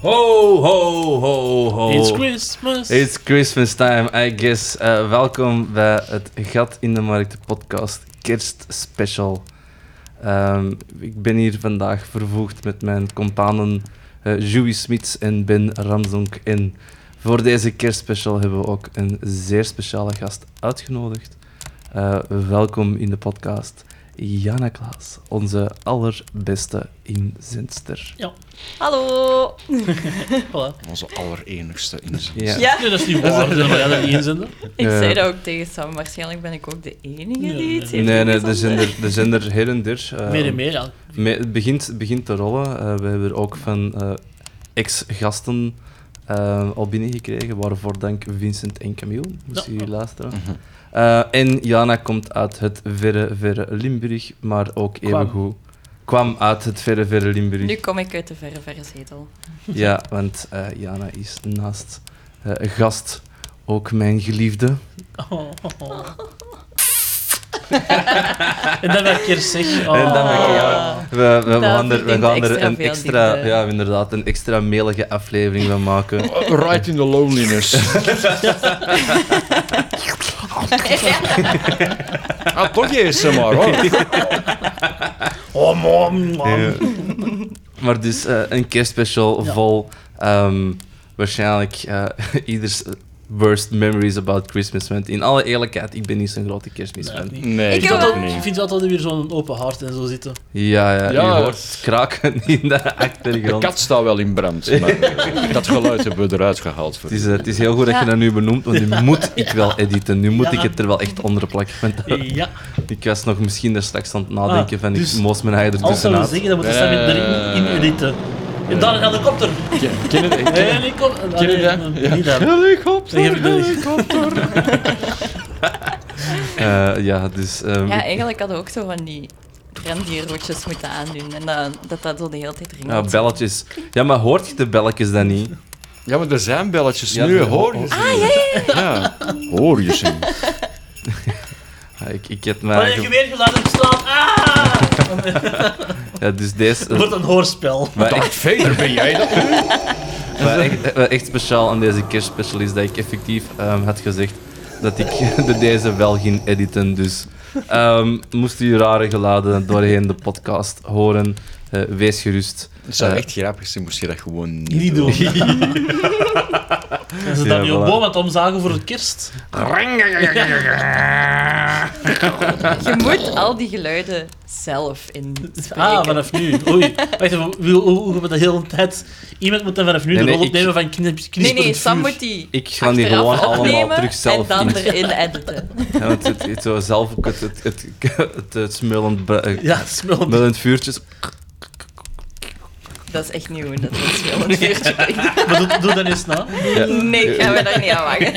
Ho, ho, ho, ho. It's Christmas. It's Christmas time, I guess. Eh, welkom bij het Gat in de Markt podcast kerstspecial. Ehm, ik ben hier vandaag vervoegd met mijn companen eh Joey Smits en Ben Ramsdonk. En voor deze kerstspecial hebben we ook een zeer speciale gast uitgenodigd. Eh, welkom in de podcast, Jana Klaas, onze allerbeste inzendster. Hallo. Voilà. Onze allerenigste inzet. Ja. Ja, Nee, dat is niet waar. Er zijn maar alle inzenden. ik Ja. zei dat ook tegen Sam. Waarschijnlijk ben ik ook de enige die iets heeft. Nee, nee, er ingezonden. zijn er, er, zijn er her en der. eh, Meer en meer, ja. Me- het begint, het begint te rollen. Eh, we hebben er ook van eh, ex-gasten eh, al binnengekregen. Waarvoor dank Vincent en Camille. Moest Ja. je luisteren. Eh, en Jana komt uit het verre, verre Limburg, maar ook Kwam. evengoed kwam uit het verre, verre Limburg. Nu kom ik uit de verre, verre zetel. Ja, want eh, Jana is naast eh, gast ook mijn geliefde. Oh, oh. en dan ben ik er zeg. Oh. En dan ben ik er, ja. We, we, we gaan er, we verdient gaan er extra een veel extra, liefde. ja, inderdaad, een extra melige aflevering van maken. Right in the loneliness. ah, toch ASMR, hoor. Oh, man, man. Ja. maar dus eh, een kerstspecial Ja. vol ehm, waarschijnlijk eh, ieders worst memories about Christmas. Want in alle eerlijkheid, ik ben niet zo'n grote kerstmisfan. Nee, Nee, Ik ik heb dat ook wel- Ik niet. vind het altijd weer zo'n open hart en zo zitten. Ja, ja, Ja. je hoort kraken in de De achtergrond. kat staat wel in brand, maar eh, dat geluid hebben we eruit gehaald. Voor Het is, eh, het is heel goed dat je Ja. dat nu benoemt, want nu moet ik wel editen. Nu moet Ja. ik het er wel echt onder plakken. Want, eh, Ja. ik was nog misschien daar straks aan het nadenken Ah, van ik dus moest mijn eigen er Als ze tussenuit. dat zeggen, dan moeten ze dat erin in editen. En dan een helikopter. Ken, ken je dat? Een Ken- helikopter. ken je Ah, dat? nee, Ja. Niet dat. Helikopter, Dan geef ik dat niet. helikopter. Eh, ja, dus... ehm, Ja, eigenlijk hadden we ook zo van die rendierroetjes moeten aandoen. En dan, dat dat zo de hele tijd ja, ringelt. belletjes. Ja, maar hoort je de belletjes dan niet? Ja, maar er zijn belletjes Ja, nu, de- hoor je ze Ah, ja, Hoor je ze niet. Ja, ik, ik heb Maar mij... je weer gedaan op slaap. Ah! Ja, dus deze... Het wordt een hoorspel. Wat Darth echt, Vader, ben jij dat? wat echt, wat echt speciaal aan deze kerstspecial is dat ik effectief ehm, had gezegd dat ik de deze wel ging editen. Dus ehm moesten jullie rare geluiden doorheen de podcast horen, eh, wees gerust. Het zou Eh, echt grappig zijn, moest je dat gewoon niet, Niet doen. en ze Ja, dan je voilà. boom aan het omzagen voor het kerst. Je moet al die geluiden zelf inspreken. Ah, vanaf nu. Oei. Wacht even, hoe, hoe, hoe gaan we dat de hele tijd... Iemand moet dan vanaf nu Nee, de nee, rol ik- opnemen van knip, knip Nee, nee, Sam moet die Ik ga die achteraf gewoon allemaal opnemen terug zelf en in. dan erin editen. Ja, want het, het, zo zelf ook het, het, het, het, het smullend, bra- eh, Ja, smelt. smullend vuurtjes. Dat is echt nieuw, dat is wel een vuurtje. Maar doe, doe dat eens na. Ja. Nee, ik ga me daar niet aan wagen.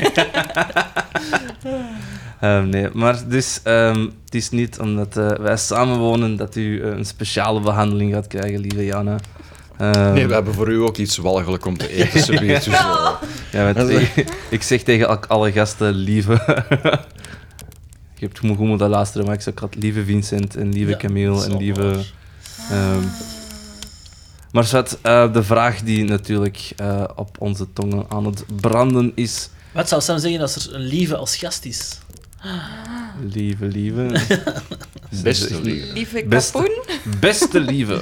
Ehm, nee, maar dus, ehm, het is niet omdat eh, wij samen wonen dat u eh, een speciale behandeling gaat krijgen, lieve Jana. Ehm, Nee, we hebben voor u ook iets walgelijk om te eten, ze weet dus, eh, ja, want ik, ik zeg tegen al- alle gasten, lieve... je hebt goed goed moeten luisteren, maar ik zeg altijd lieve Vincent en lieve Ja, Camille en Zo. lieve... ehm. maar zat, eh, de vraag die natuurlijk eh, op onze tongen aan het branden is... Wat zou Sam zeggen als er een lieve als gast is? Lieve, lieve... Beste lieve. Lieve Beste- kapoen. Beste lieve.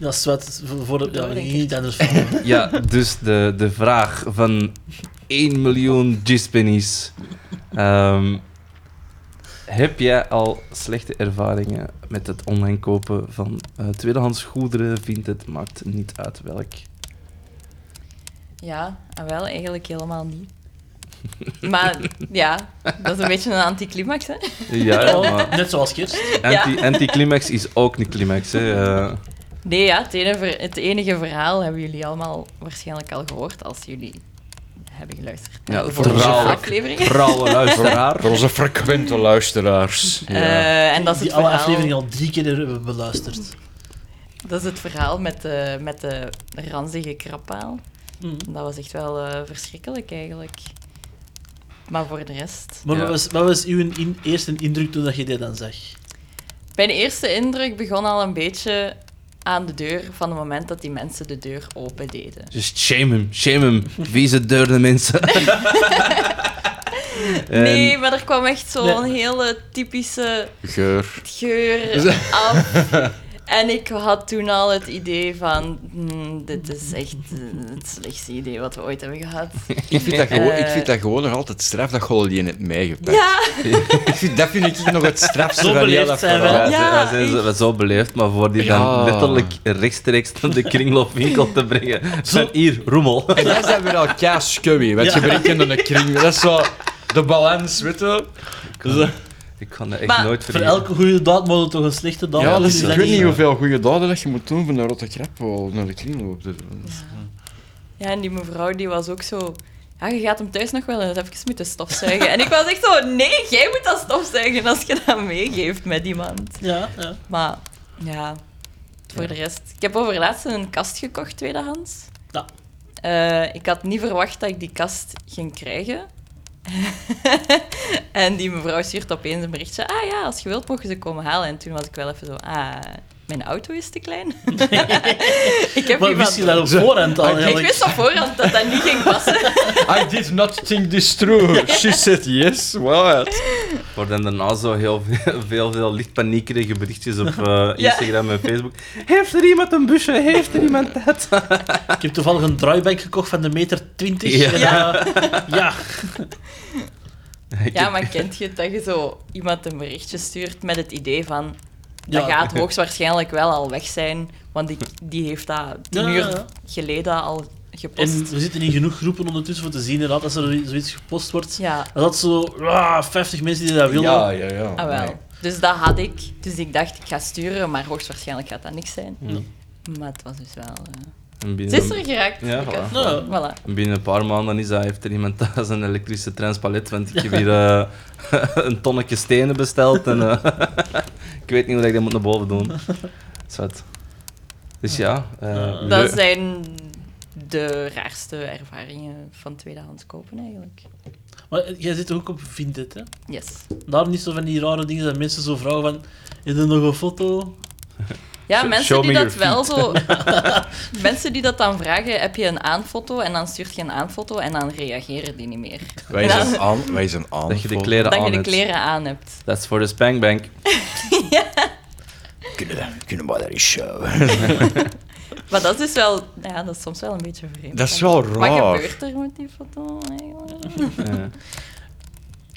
Dat is wat voor, voor de... Ja, denk ik. niet anders van. Ja, dus de, de vraag van 1 miljoen gizpennies. Ehm, heb jij al slechte ervaringen met het online kopen van eh, tweedehands goederen? Vindt het, maakt niet uit welk. Ja, en wel eigenlijk helemaal niet. Maar ja, dat is een beetje een anticlimax, hè? Ja, ja, maar Net zoals kerst. anti, anticlimax is ook een climax. Hè. eh. Nee, ja, het ene ver- het enige verhaal hebben jullie allemaal waarschijnlijk al gehoord als jullie hebben geluisterd. Ja, de vorige trouw. afleveringen. Trouwe luisteraar. Voor onze frequente luisteraars. Ja. Eh, en dat is het die alle afleveringen verhaal, al drie keer hebben beluisterd. dat is het verhaal met, de met de ranzige krabpaal. Hm. Dat was echt wel eh, verschrikkelijk eigenlijk. Maar voor de rest. Maar Ja. wat, was, wat was uw in- eerste indruk toen dat je dit dan zag? Mijn eerste indruk begon al een beetje aan de deur van het moment dat die mensen de deur opendeden. Dus shame hem, shame hem. Vieze deurde mensen. En- Nee, maar er kwam echt zo'n Nee. hele typische Geur. geur af. En ik had toen al het idee van, hmm, dit is echt eh, het slechtste idee wat we ooit hebben gehad. Ik vind, dat gewoon, ik Eh. vind dat gewoon nog altijd straf dat Golly in het meegepakt. Ja, Ik vind, dat vind ik nog het strafste Zo van heel beleefd dat zijn we. verhaal. Ja, Ja, ze- wij zijn zo, echt. wij zo beleefd, maar voor die Ja. dan letterlijk rechtstreeks naar de kringloopwinkel te brengen. Van hier, roemel. En dat zijn weer al kaascubby, want je Ja. brengt in een kring. Dat is zo de balans, weet je Dus, eh, Ik kan dat echt Maar nooit Voor vergeten. elke goede daad moet er toch een slechte daad ja, op dus zitten, ik dat weet is- niet hoeveel goede daden dat je moet doen van een rotte krap wel naar de kring loopt. Dus, eh, Ja, en die mevrouw die was ook zo... Ja, je gaat hem thuis nog wel eens even moeten stofzuigen. En ik was echt zo, nee, jij moet dat stofzuigen als je dat meegeeft met iemand. Ja, ja. Maar ja, voor de rest. Ik heb over laatst een kast gekocht, tweedehands. Ja. Eh, ik had niet verwacht dat ik die kast ging krijgen. en die mevrouw stuurt opeens een berichtje. Ah ja, als je wilt mogen ze komen halen. En toen was ik wel even zo, ah, mijn auto is te klein. ik heb Maar iemand- wist je dat op voorhand al? Ik eigenlijk? wist op voorhand dat dat niet ging passen. I did not think this through. She said yes. What? Voor dan daarna zo heel veel, veel, veel lichtpaniekerige berichtjes op eh, Instagram en Facebook. Heeft er iemand een busje? Heeft er iemand dat? Ik heb toevallig een draaibank gekocht van de meter 20. Ja. En, eh, ja. Ik Ja, heb- maar kent je het dat je zo iemand een berichtje stuurt met het idee van... Dat Ja. gaat hoogstwaarschijnlijk wel al weg zijn, want die, die heeft dat tien Ja, ja, uur ja. geleden al gepost. En dus- we zitten in genoeg groepen ondertussen voor te zien inderdaad, als er zoiets gepost wordt. Ja, Dat had zo ah, 50 mensen die dat willen. Ja, ja, ja. ah wel. Dus dat had ik. Dus ik dacht, ik ga sturen, maar hoogstwaarschijnlijk gaat dat niks zijn. Ja. Maar het was dus wel... eh, En binnen- Ze is er geraakt. Ja, Ik voilà. heb- Nou, voilà. En Binnen een paar maanden is dat, heeft er iemand thuis een elektrische transpalet, want ik heb hier eh, een tonnetje stenen besteld en eh, ik weet niet hoe ik dat moet naar boven doen. Zwet. Dus ja, eh, Ja. leu- Dat zijn de raarste ervaringen van tweedehands kopen eigenlijk. Maar eh, jij zit ook op Vinted, hè? Yes. Daarom niet zo van die rare dingen dat mensen zo vragen van... Is er nog een foto? Ja, Show- mensen show die me dat your wel zo. mensen die dat dan vragen: heb je een aanfoto? En dan stuurt je een aanfoto en dan reageren die niet meer. Wij Ja. zijn aan. Wij zijn aan. dat je de kleren dat aan je de hebt. kleren aan hebt. Dat is voor de spankbank. Kunnen, kunnen we daar eens show? Maar dat is wel. Ja, dat is soms wel een beetje vreemd. Dat is wel Wat raar. gebeurt er met die foto eigenlijk? Eh,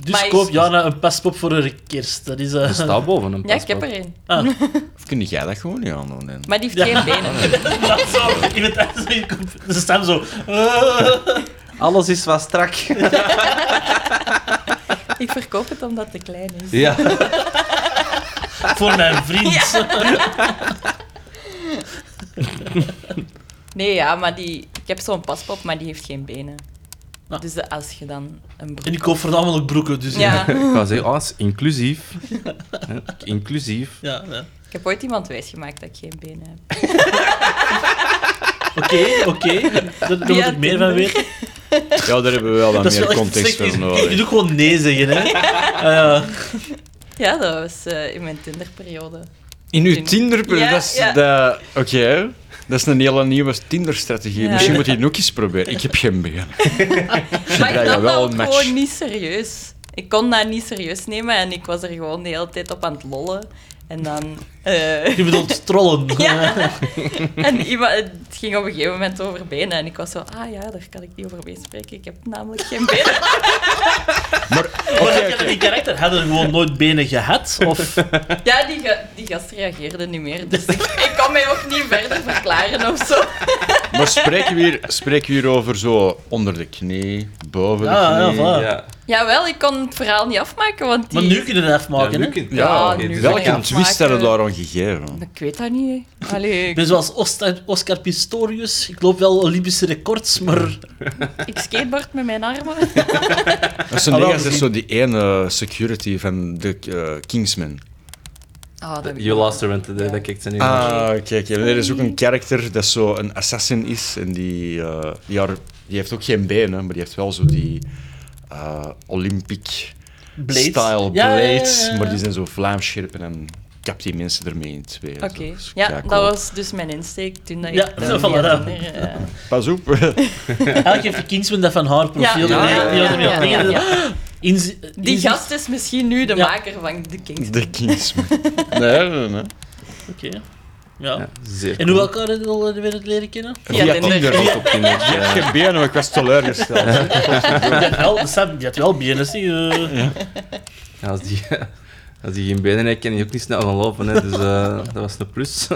Dus Maar is- koop Jana een paspop voor haar kerst. Dat is... eh, dat staat boven een Ja, ik paspoort. heb er een. ah, Of kun jij dat gewoon niet aandoen? Dan? Maar die heeft geen benen. dat is zo. Iemand anders in de computer. Ze staan zo... eh, Alles is wat strak. Ik verkoop het omdat het te klein is. ja. voor mijn vriend. Nee, ja, maar die. Ik heb zo'n paspop, maar die heeft geen benen. Ah. Dus de- als je dan een En broek. ik koop voornamelijk broeken, dus... Ja, Ik ga zeggen, ah, is inclusief. Eh, inclusief. Ja, ja. ik heb ooit iemand wijsgemaakt dat ik geen benen heb. Oké, oké. Daar daar moet Via ik meer van Tinder. weten. Ja, daar hebben we wel wat Dat is wel meer echt context slecht. voor Je doet nodig. ook gewoon nee zeggen, hè. Ah, ja. Ja, dat was eh, in mijn Tinderperiode. In uw Tinder. Tinder, Ja, dat is ja. de- Oké, dat is een hele nieuwe Tinder-strategie. Ja. Misschien moet je die ook eens proberen. Ik heb geen begin. Maar Ja, ik nam wel dat ook een match. gewoon niet serieus. Ik kon dat niet serieus nemen en ik was er gewoon de hele tijd op aan het lollen. En dan... eh, Je bedoelt trollen. ja. En iemand, het ging op een gegeven moment over benen. En ik was zo, ah ja, daar kan ik niet over meespreken. Ik heb namelijk geen benen. Maar, oké, Maar oké. die karakter hadden gewoon nooit benen gehad? Of... Ja, die, ga- die gast reageerde niet meer. Dus ik, ik kon mij ook niet verder verklaren of zo. Maar spreken we, hier, spreken we hier over zo onder de knie, boven Ja, de ja, knie? voilà. Ja, Jawel, ik kon het verhaal niet afmaken, want die... Maar nu kun je het afmaken, hè? nu kun- Ja, oké, nu dus wel, dat ja. kan- Welke twist hebben we daar aan gegeven? Ik weet dat niet, hè. Allee, Ik ik, ben zoals Oscar, Oscar Pistorius. Ik loop wel Olympische records, maar ik skateboard met mijn armen. Dat is, een Ah, wel ding, dat is zo gezien. die ene security van de eh, Kingsman. Ah, dat heb ik You niet. lost her rent today, dat kijkt ze niet Ah, kijk. Er is ook een karakter dat zo een assassin is. En die, eh, die, haar- die heeft ook geen benen, maar die heeft wel zo die eh, Olympic Blades. style Ja, ja, ja, ja, blades. ja. Maar die zijn zo vlaamscherpen en kapt die mensen ermee in twee. Oké, Zo, dat is ja, keicool. dat was dus mijn insteek toen dat ik... Ja, dat zo, niet voilà, had dat. meer, eh. Pas op. eigenlijk heeft Kingsman dat van haar profiel. Ja, en ja, die- die ja, hadden ja, meer ja, dingen. Inzi- Die inzicht- gast is misschien nu de Ja. maker van The Kings. De Kingsman. Nee, nee, nee. Oké. Ja. Ja, zeer En hoe cool. elkaar hebben we het weer leren kennen? Via Via Tinder. Tinder was op Tinder. Je hebt geen benen, maar ik was teleurgesteld. Die had wel, Sam, die had wel BNS. die, eh, Ja, als, die, als die geen benen heeft, kan hij ook niet snel gaan lopen. Hè. Dus eh, dat was een plus.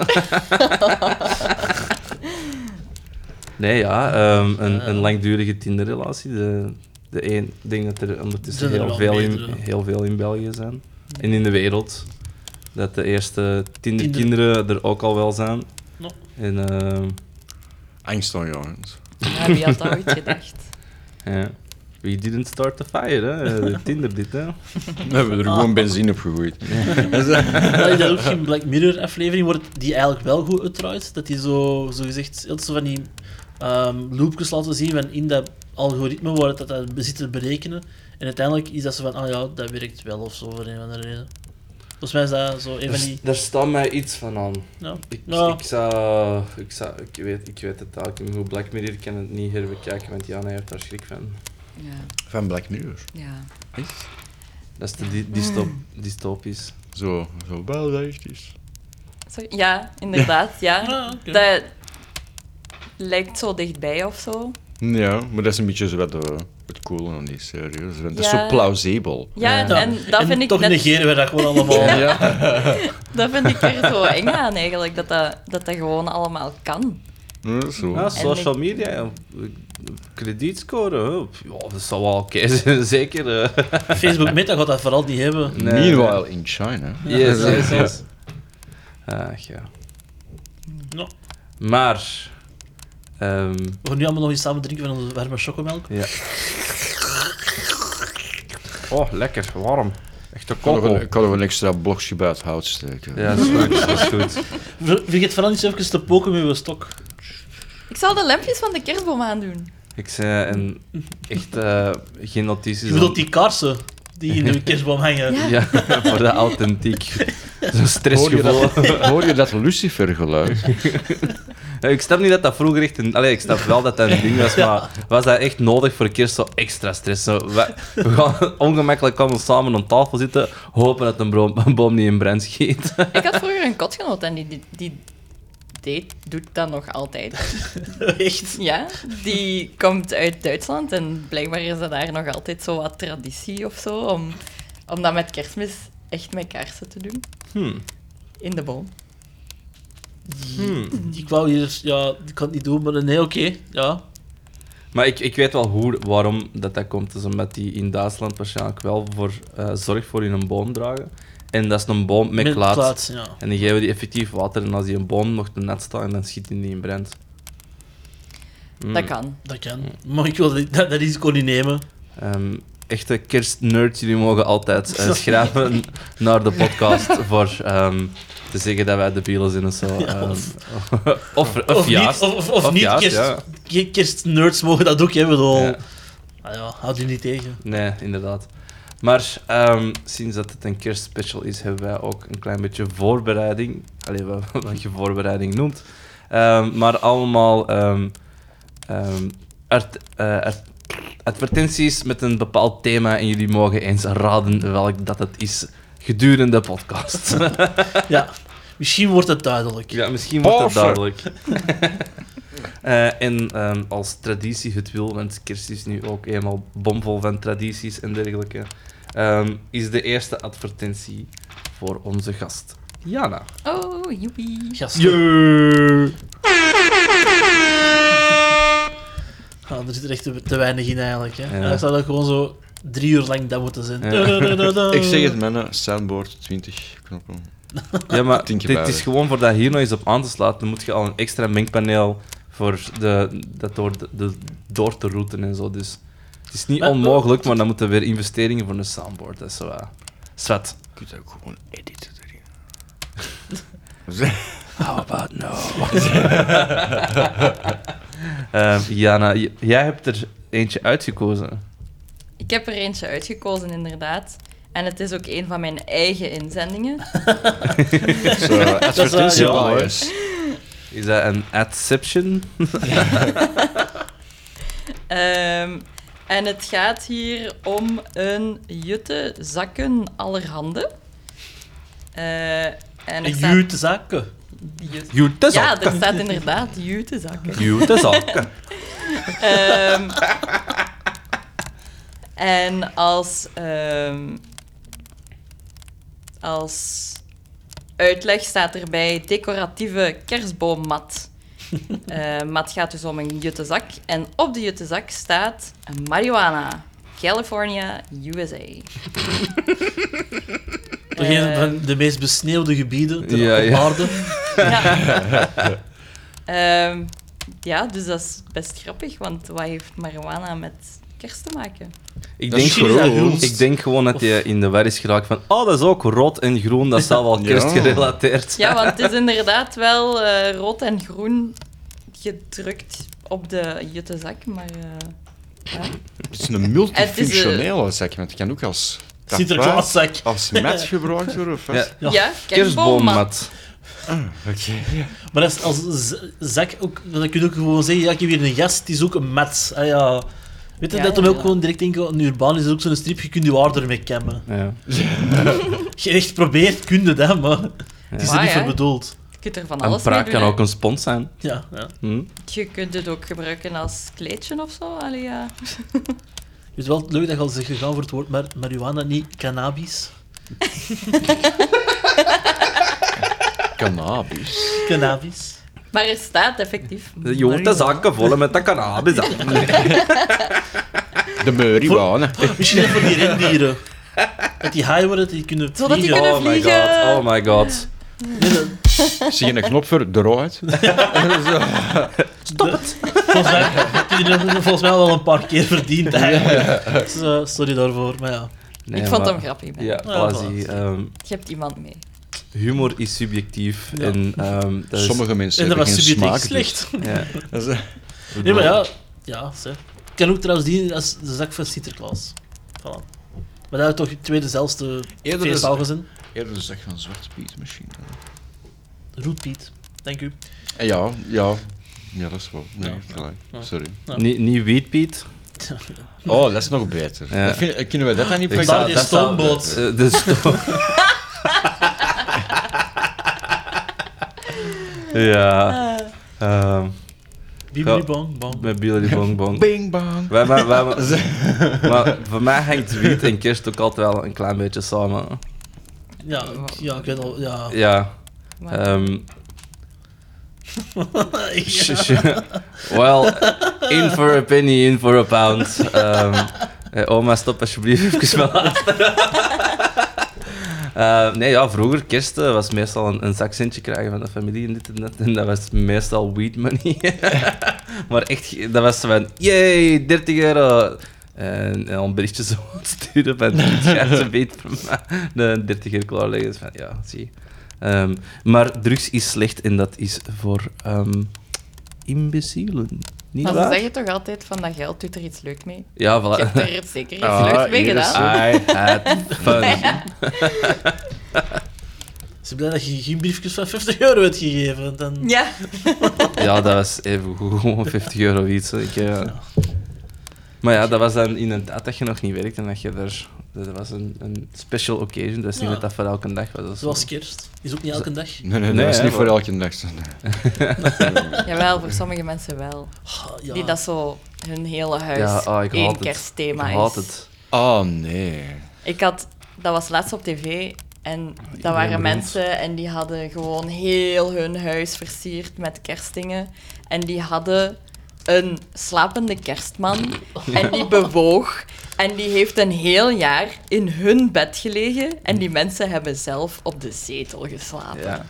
nee, ja, ehm, een, een langdurige Tinder-relatie. De, de een, ik denk dat er ondertussen Er zijn er heel wel veel, in, meerdere. heel veel in België zijn. En in de wereld. Dat de eerste Tinder-kinderen er ook al wel zijn. No. En, ehm, Angst aan jongens. Ja, wie had dat ooit gedacht? ja. We didn't start the fire, hè? De Tinder, dit, hè? We hebben er gewoon benzine op gegooid. Maar is dat ook geen Black Mirror aflevering wordt die eigenlijk wel goed uitdraait? Dat die zo, zo gezegd heel zo van die ehm loopjes laten zien van in dat algoritme waar het dat dat zit te berekenen. En uiteindelijk is dat zo van, ah ja, dat werkt wel of zo voor een of andere reden. Volgens mij is dat zo een van die. Daar staat mij iets van aan. Ja. Ik, Ja. ik zou... Ik, zou ik, weet, ik weet het eigenlijk niet goed. Black Mirror kan het niet herbekijken, want Jana heeft daar schrik van. Ja, Van Black Mirror. ja. Dat is te dy- dystop, dystopisch. Zo, zo wel realistisch. Sorry, ja, inderdaad, ja. Ah, oké. Dat lijkt zo dichtbij of zo. Ja, maar dat is een beetje zo wat de, het coole aan die serie. Dat is dat is Ja. zo plausibel. Ja, en, Ja. en dat vind ik toch net- negeren we dat gewoon allemaal. dat vind ik er zo eng aan eigenlijk, dat dat, dat dat gewoon allemaal kan. Ja, zo. Ja, En social ik- media, ja. kredietscore, hè. ja, dat zou wel oké zijn, zeker. hè. Facebook Meta gaat dat vooral niet hebben. Nee. Meanwhile in China. Yes, yes, yes. Ach, Ah, ja. No. Maar... ehm, We gaan nu allemaal nog eens samen drinken van onze warme chocomelk. ja. Oh, lekker, warm. Echt een Ik kan nog een- kokkel. Ik kan nog een extra blokje bij het hout steken. Ja, dat is goed, dat is goed. Ver- Vergeet vooral niet zo even te poken met je stok. Ik zal de lampjes van de kerstboom aandoen. Ik zei, en echt eh, geen notities. Je bedoelt die kaarsen die in de kerstboom hangen. Ja. Ja, voor de authentiek. Zo'n Hoor je, stressgevoel. dat, hoor je dat Lucifer geluid? Eh, Ik snap niet dat dat vroeger echt een... Allee, ik snap wel dat dat een ding was, maar was dat echt nodig voor een keer zo extra stress? Zo, we, we gaan ongemakkelijk komen samen om tafel zitten, hopen dat een, bro- een boom niet in brand schiet. Ik had vroeger een kotgenoot en die, die, die deed, doet dat nog altijd. Echt. Ja, die komt uit Duitsland en blijkbaar is dat daar nog altijd zo wat traditie of zo, om, om dat met kerstmis echt met kaarsen te doen. Hmm. In de boom. Hmm. Ik wou hier, ja, ik kan het niet doen, maar nee, oké. Ja. Maar ik, ik weet wel hoe, waarom dat, dat komt. Dus omdat die in Duitsland waarschijnlijk wel voor, eh, zorg voor in een boom dragen. En dat is een boom met, klaats. ja. En die geven die effectief water. En als die een boom nog te net staat, dan schiet die niet in brand. Hmm. Mm. Dat kan. Dat kan. Maar ik wil dat, dat risico niet nemen. Ehm, echte kerstnerds, jullie mogen altijd eh, schrijven naar de podcast voor ehm, te zeggen dat wij debielen zijn of zo. Ja, Ehm, of- of, of, juist. niet, of, of, of niet juist, kerst, ja. ke- kerstnerds mogen dat ook hebben. Al. Ja. Ah, ja, houd je niet tegen. Nee, inderdaad. Maar ehm, sinds dat het een kerstspecial is, hebben wij ook een klein beetje voorbereiding. Allee, wat, wat je voorbereiding noemt. Ehm, maar allemaal ehm, ehm, art- eh, art- advertenties met een bepaald thema. En jullie mogen eens raden welk dat het is gedurende de podcast. Ja. Misschien wordt het duidelijk. ja, misschien wordt het Porsche. duidelijk. Oh, Eh, en ehm, als traditie het wil, want kerst is nu ook eenmaal bomvol van tradities en dergelijke, ehm, is de eerste advertentie voor onze gast, Jana. Oh, joepie. Gasten. Jee! Ja, Ah, er zit er echt te, te weinig in eigenlijk. Hè. Ja. Ja. zou dat gewoon zo drie uur lang dat moeten zijn. Ja. Ik zeg het, mannen, soundboard 20 knoppen. Ja, maar Tien keer dit buigen. is gewoon voor dat hier nog eens op aan te sluiten, moet je al een extra mengpaneel voor de, dat door, de, de- door te routen en zo. Dus het is niet Maar- onmogelijk, maar dan moeten weer investeringen voor een soundboard. Dat is zo. eh, zwart. Je kunt ook gewoon editen erin. How about no? Ehm, Jana, j- jij hebt er eentje uitgekozen. Ik heb er eentje uitgekozen, inderdaad. En het is ook een van mijn eigen inzendingen. Zo, advertentie wel, ja. bias. Is dat een adception? Ehm, en het gaat hier om een jutte zakken allerhande. Eh, en er Een staat- jute zakken. jute- Jute zak. Ja, er staat inderdaad jute zakken. Jute zak. Ehm, en als, ehm, als uitleg staat erbij decoratieve kerstboommat. Eh mat gaat dus om een juttezak. En op de juttezak staat marijuana. California, USA. Een Eh. van de meest besneeuwde gebieden ter Ja, ja. op aarde. Ja. Ehm, ja, dus dat is best grappig, want wat heeft marijuana met kerst te maken? Ik Dat is denk, groen. gewoon, ik denk gewoon dat je in de war is geraakt van oh, dat is ook rood en groen, dat zal wel Ja. kerstgerelateerd zijn. Ja, want het is inderdaad wel eh, rood en groen gedrukt op de juttezak, maar... eh, ja. Het is een multifunctionele zak, want het kan ook als Sinterklaaszak. tapijt, Als mat gebruikt worden of wat? Ja. Ja, Ja. kerstboommat. Kerstboommat. Oké. Maar als, als z- zak ook, dan kun je ook gewoon zeggen, ja, ik heb hier een gast, die is ook een mat. Ah, ja. Weet je, Ja, dat hem ja, ook ja. gewoon direct denken, een urbaan is ook zo'n strip, je kunt je aarder mee kemmen. Ja. Als je echt probeert, kun je dat, maar het is er Waar, niet voor hè? bedoeld. Je kunt er van Een alles mee praak doen. kan hè. ook een spons zijn. Ja, ja. Hm? Je kunt het ook gebruiken als kleedje of zo. Allee, ja. Het is wel leuk dat je al zegt gegaan voor het woord mar marihuana, niet cannabis. Cannabis. Cannabis. Maar er staat effectief. Je hoort de zakken vol met de cannabis aan. De marihuana. Misschien ook voor die rendieren. Dat die high worden, die kunnen Zodat die vliegen. kunnen Oh my god, vliegen. oh my god. Nee, dat- Zie je een knop voor eruit? Stop het! Volgens mij heb je die nog- volgens mij al een paar keer verdiend. eigenlijk. Dus, eh, sorry daarvoor, maar ja. Nee, ik vond maar- hem grappig. Ben. Ja, Ja, quasi. ehm, Je hebt iemand mee. humor is subjectief. Ja. En, ehm, dat is- Sommige mensen En dat hebben was geen subjectief smaak. slecht. Ja. dus- Dat is- Nee, maar ja. Ja, zeg. Ik kan ook trouwens dienen als de zak van Sinterklaas. Voilà. Maar dat is toch twee dezelfde Eerder is- feestdagen zijn. Eerder de zak van Zwarte Piet misschien. Roet Piet, dank u. Eh, Ja, ja. Ja, dat is wel. Nee, Ja. gelijk. Ja. Sorry. Niet niet Piet. Oh, dat is nog beter. Ja. Dat vind- eh, kunnen we dat dan niet Ik Daar zou- pakken? is dat zou- stoomboot. Eh, dus ja, Eh, ehm, Bibidi bang, bang. met Billy Bong Bong. Bing bang. Wij, wij, wij, maar voor mij hangt wiet en kerst ook altijd wel een klein beetje samen. Ja, ik- ja, ik weet al. Ja. Ja. maar- ehm Ja. well, in for a penny, in for a pound. Ehm, eh, oma, stop alsjeblieft even wel. Eh, nee, ja, vroeger, kerst eh, was meestal een, een zakcentje krijgen van de familie en dit en dat. En dat was meestal weed money. maar echt, ge- dat was van, yay, 30 euro. En, en al een berichtje zo sturen van, ja, ze weet van mij. De 30 euro klaarleggen. Dus van, ja, zie. Ehm, maar drugs is slecht en dat is voor ehm imbecielen. Niet maar ze waar? zeggen toch altijd van dat geld doet er iets leuk mee. Ja, Je voilà. hebt er zeker iets Ah, leuks mee hier is- gedaan. I had fun. Ze blij dat je geen briefjes van 50 euro hebt gegeven. want Dan... Ja. Ja, dat was even goed, gewoon 50 euro iets. Ik, eh. Maar ja, dat was dan inderdaad dat je nog niet werkte en dat je er... Dat was een, een special occasion, dat is niet Ja. dat dat voor elke dag was. of zo. Zoals kerst. Is ook niet elke dag. Nee, nee, Nee, dat is hè, niet voor wel. elke dag. Jawel, voor sommige mensen wel. Ah, ja. Die dat zo hun hele Ja, huis ah, ik haat één het. kerstthema Ik is. haat het. Oh nee. Ik had, dat was laatst op tv en dat waren Ah, bedoelt. mensen en die hadden gewoon heel hun huis versierd met kerstdingen. En die hadden een slapende kerstman en die bewoog. En die heeft een heel jaar in hun bed gelegen en die mensen hebben zelf op de zetel geslapen. Hm. Ja.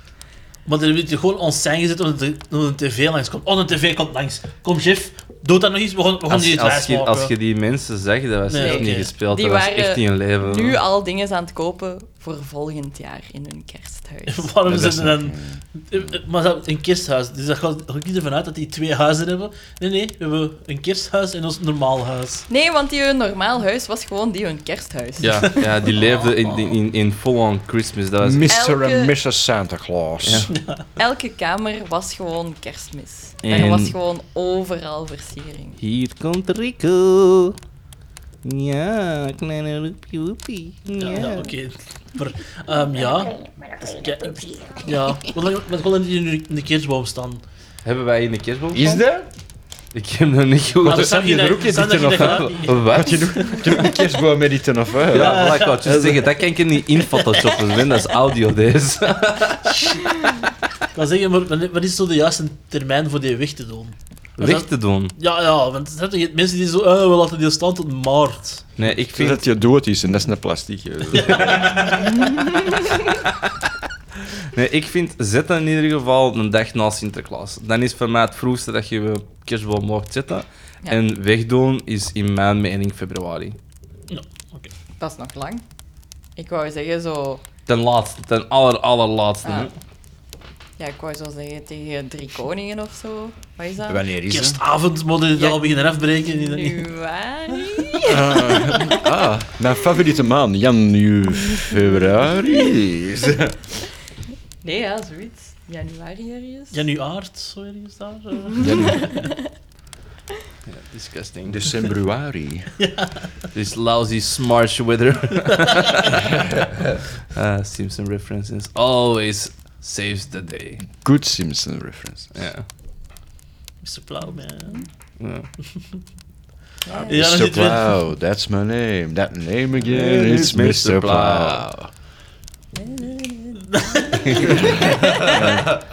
Maar dan heb je gewoon ons zijn gezet omdat de- omdat een tv langs komt. Oh, een tv komt langs. Kom, Jeff, doe dat nog eens. We gaan, we gaan Als, die als, het je, als je maken. die mensen zegt, dat was Nee, echt oké. niet gespeeld. Die dat was waren echt niet een leven. Nu al dingen aan het kopen voor volgend jaar in hun kersthuis. Waarom Nee, dat zijn is ze dan... Maar dat- een kersthuis, dus dat gaat, ga ik niet ervan uit dat die twee huizen hebben. Nee, nee, we hebben een kersthuis en ons normaal huis. Nee, want die hun normaal huis was gewoon die hun kersthuis. Ja, ja, die leefden in, in, in full-on Christmas. Dat was Mr. Elke- en Mrs. Santa Claus. Ja. Elke kamer was gewoon kerstmis. En- Er was gewoon overal versiering. Hier komt Rico. Ja, kleine roepie woepie. Ja, Ja. ja, oké. Maar, ehm, ja. Ja, ik- ja. Hoe lang- Met hoeveel die nu in de kerstboom staan? Hebben wij in de kerstboom? Is dat? Ik heb nog niet goed. Maar er staan je hier- er ook in er staan zitten er of hier- Wat? Had je nog heb je nog een kerstboom met die ten of hè? Ja, voilà, ik wou het juist zeggen, dat kan ik er niet in photoshoppen, Sven, dat is audio dus. deze. Ik kan zeggen, maar wanneer- wat is zo de juiste termijn voor die weg te doen? Weg te doen. Ja, ja, want er zijn toch mensen die zo, eh, we laten die staan tot maart. Nee, ik Ik vind vind... dat je dood is en dat is een plastic. hè. Nee, ik vind, zet dat in ieder geval een dag na Sinterklaas. Dan is voor mij het vroegste dat je je kerstboom mocht zetten. Ja. En wegdoen is in mijn mening februari. Ja, oké. Dat is nog lang. Ik wou zeggen zo... Ten laatste, ten aller, allerlaatste. ah, hè. ja, ik wou zo zeggen tegen drie koningen of zo. Wat is dat? Wanneer is het? Kerstavond moet je dat Ja. al beginnen afbreken. in- in- Januari? Ah, mijn favoriete maand, januari. Nee, ja, zoiets. Januari ergens. Januaart, zo ergens daar. eh. Disgusting. Dus, Decembruari. dus lousy smart weather. Ah, Simpson references always saves the day. Good Simpson reference. Ja. Mr. Hm. Plowman. ja. Ja, dan Mr. zitten we- Plow, that's my name. That name again Yeah, is it's Mr. Mr. Plow.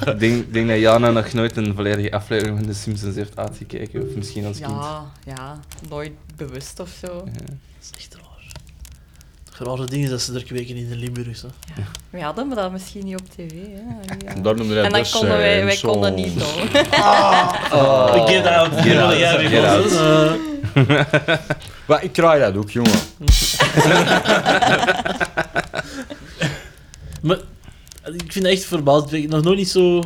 Ik denk, denk dat Jana nog nooit een volledige aflevering van The Simpsons heeft uitgekeken. Of misschien als kind. Ja, ja. Nooit bewust of zo. Dat is echt raar. Het rare ding is dat ze er kweken in de Limburg. Hè. We hadden dat misschien niet op tv. Hè? Ja. Daar noemde hij En dan dus, konden wij, eh, wij zo'n- konden niet doen. Get out. Oh, get Ja, out, ja, get ja, out. eh, Maar ik kraai dat ook, jongen. Maar Eh, ik vind het echt verbaasd. Ik nog nooit niet zo.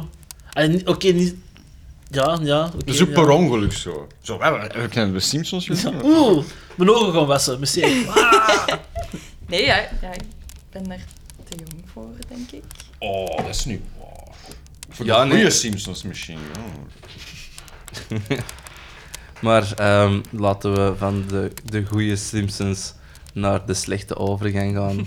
Ah, niet- Oké, niet. Ja, ja. oké, Dat is ook ja. per ongeluk zo. Zo, we hebben we kennen de Simpsons gezien. Oeh, mijn ogen gaan wassen. Misschien. Nee, ja, ja, ik ben daar te jong voor, denk ik. Oh, dat is nu. wow. Voor Ja, de goede nee. Simpsons misschien. ja. Maar ehm, laten we van de, de goede Simpsons naar de slechte overgang gaan.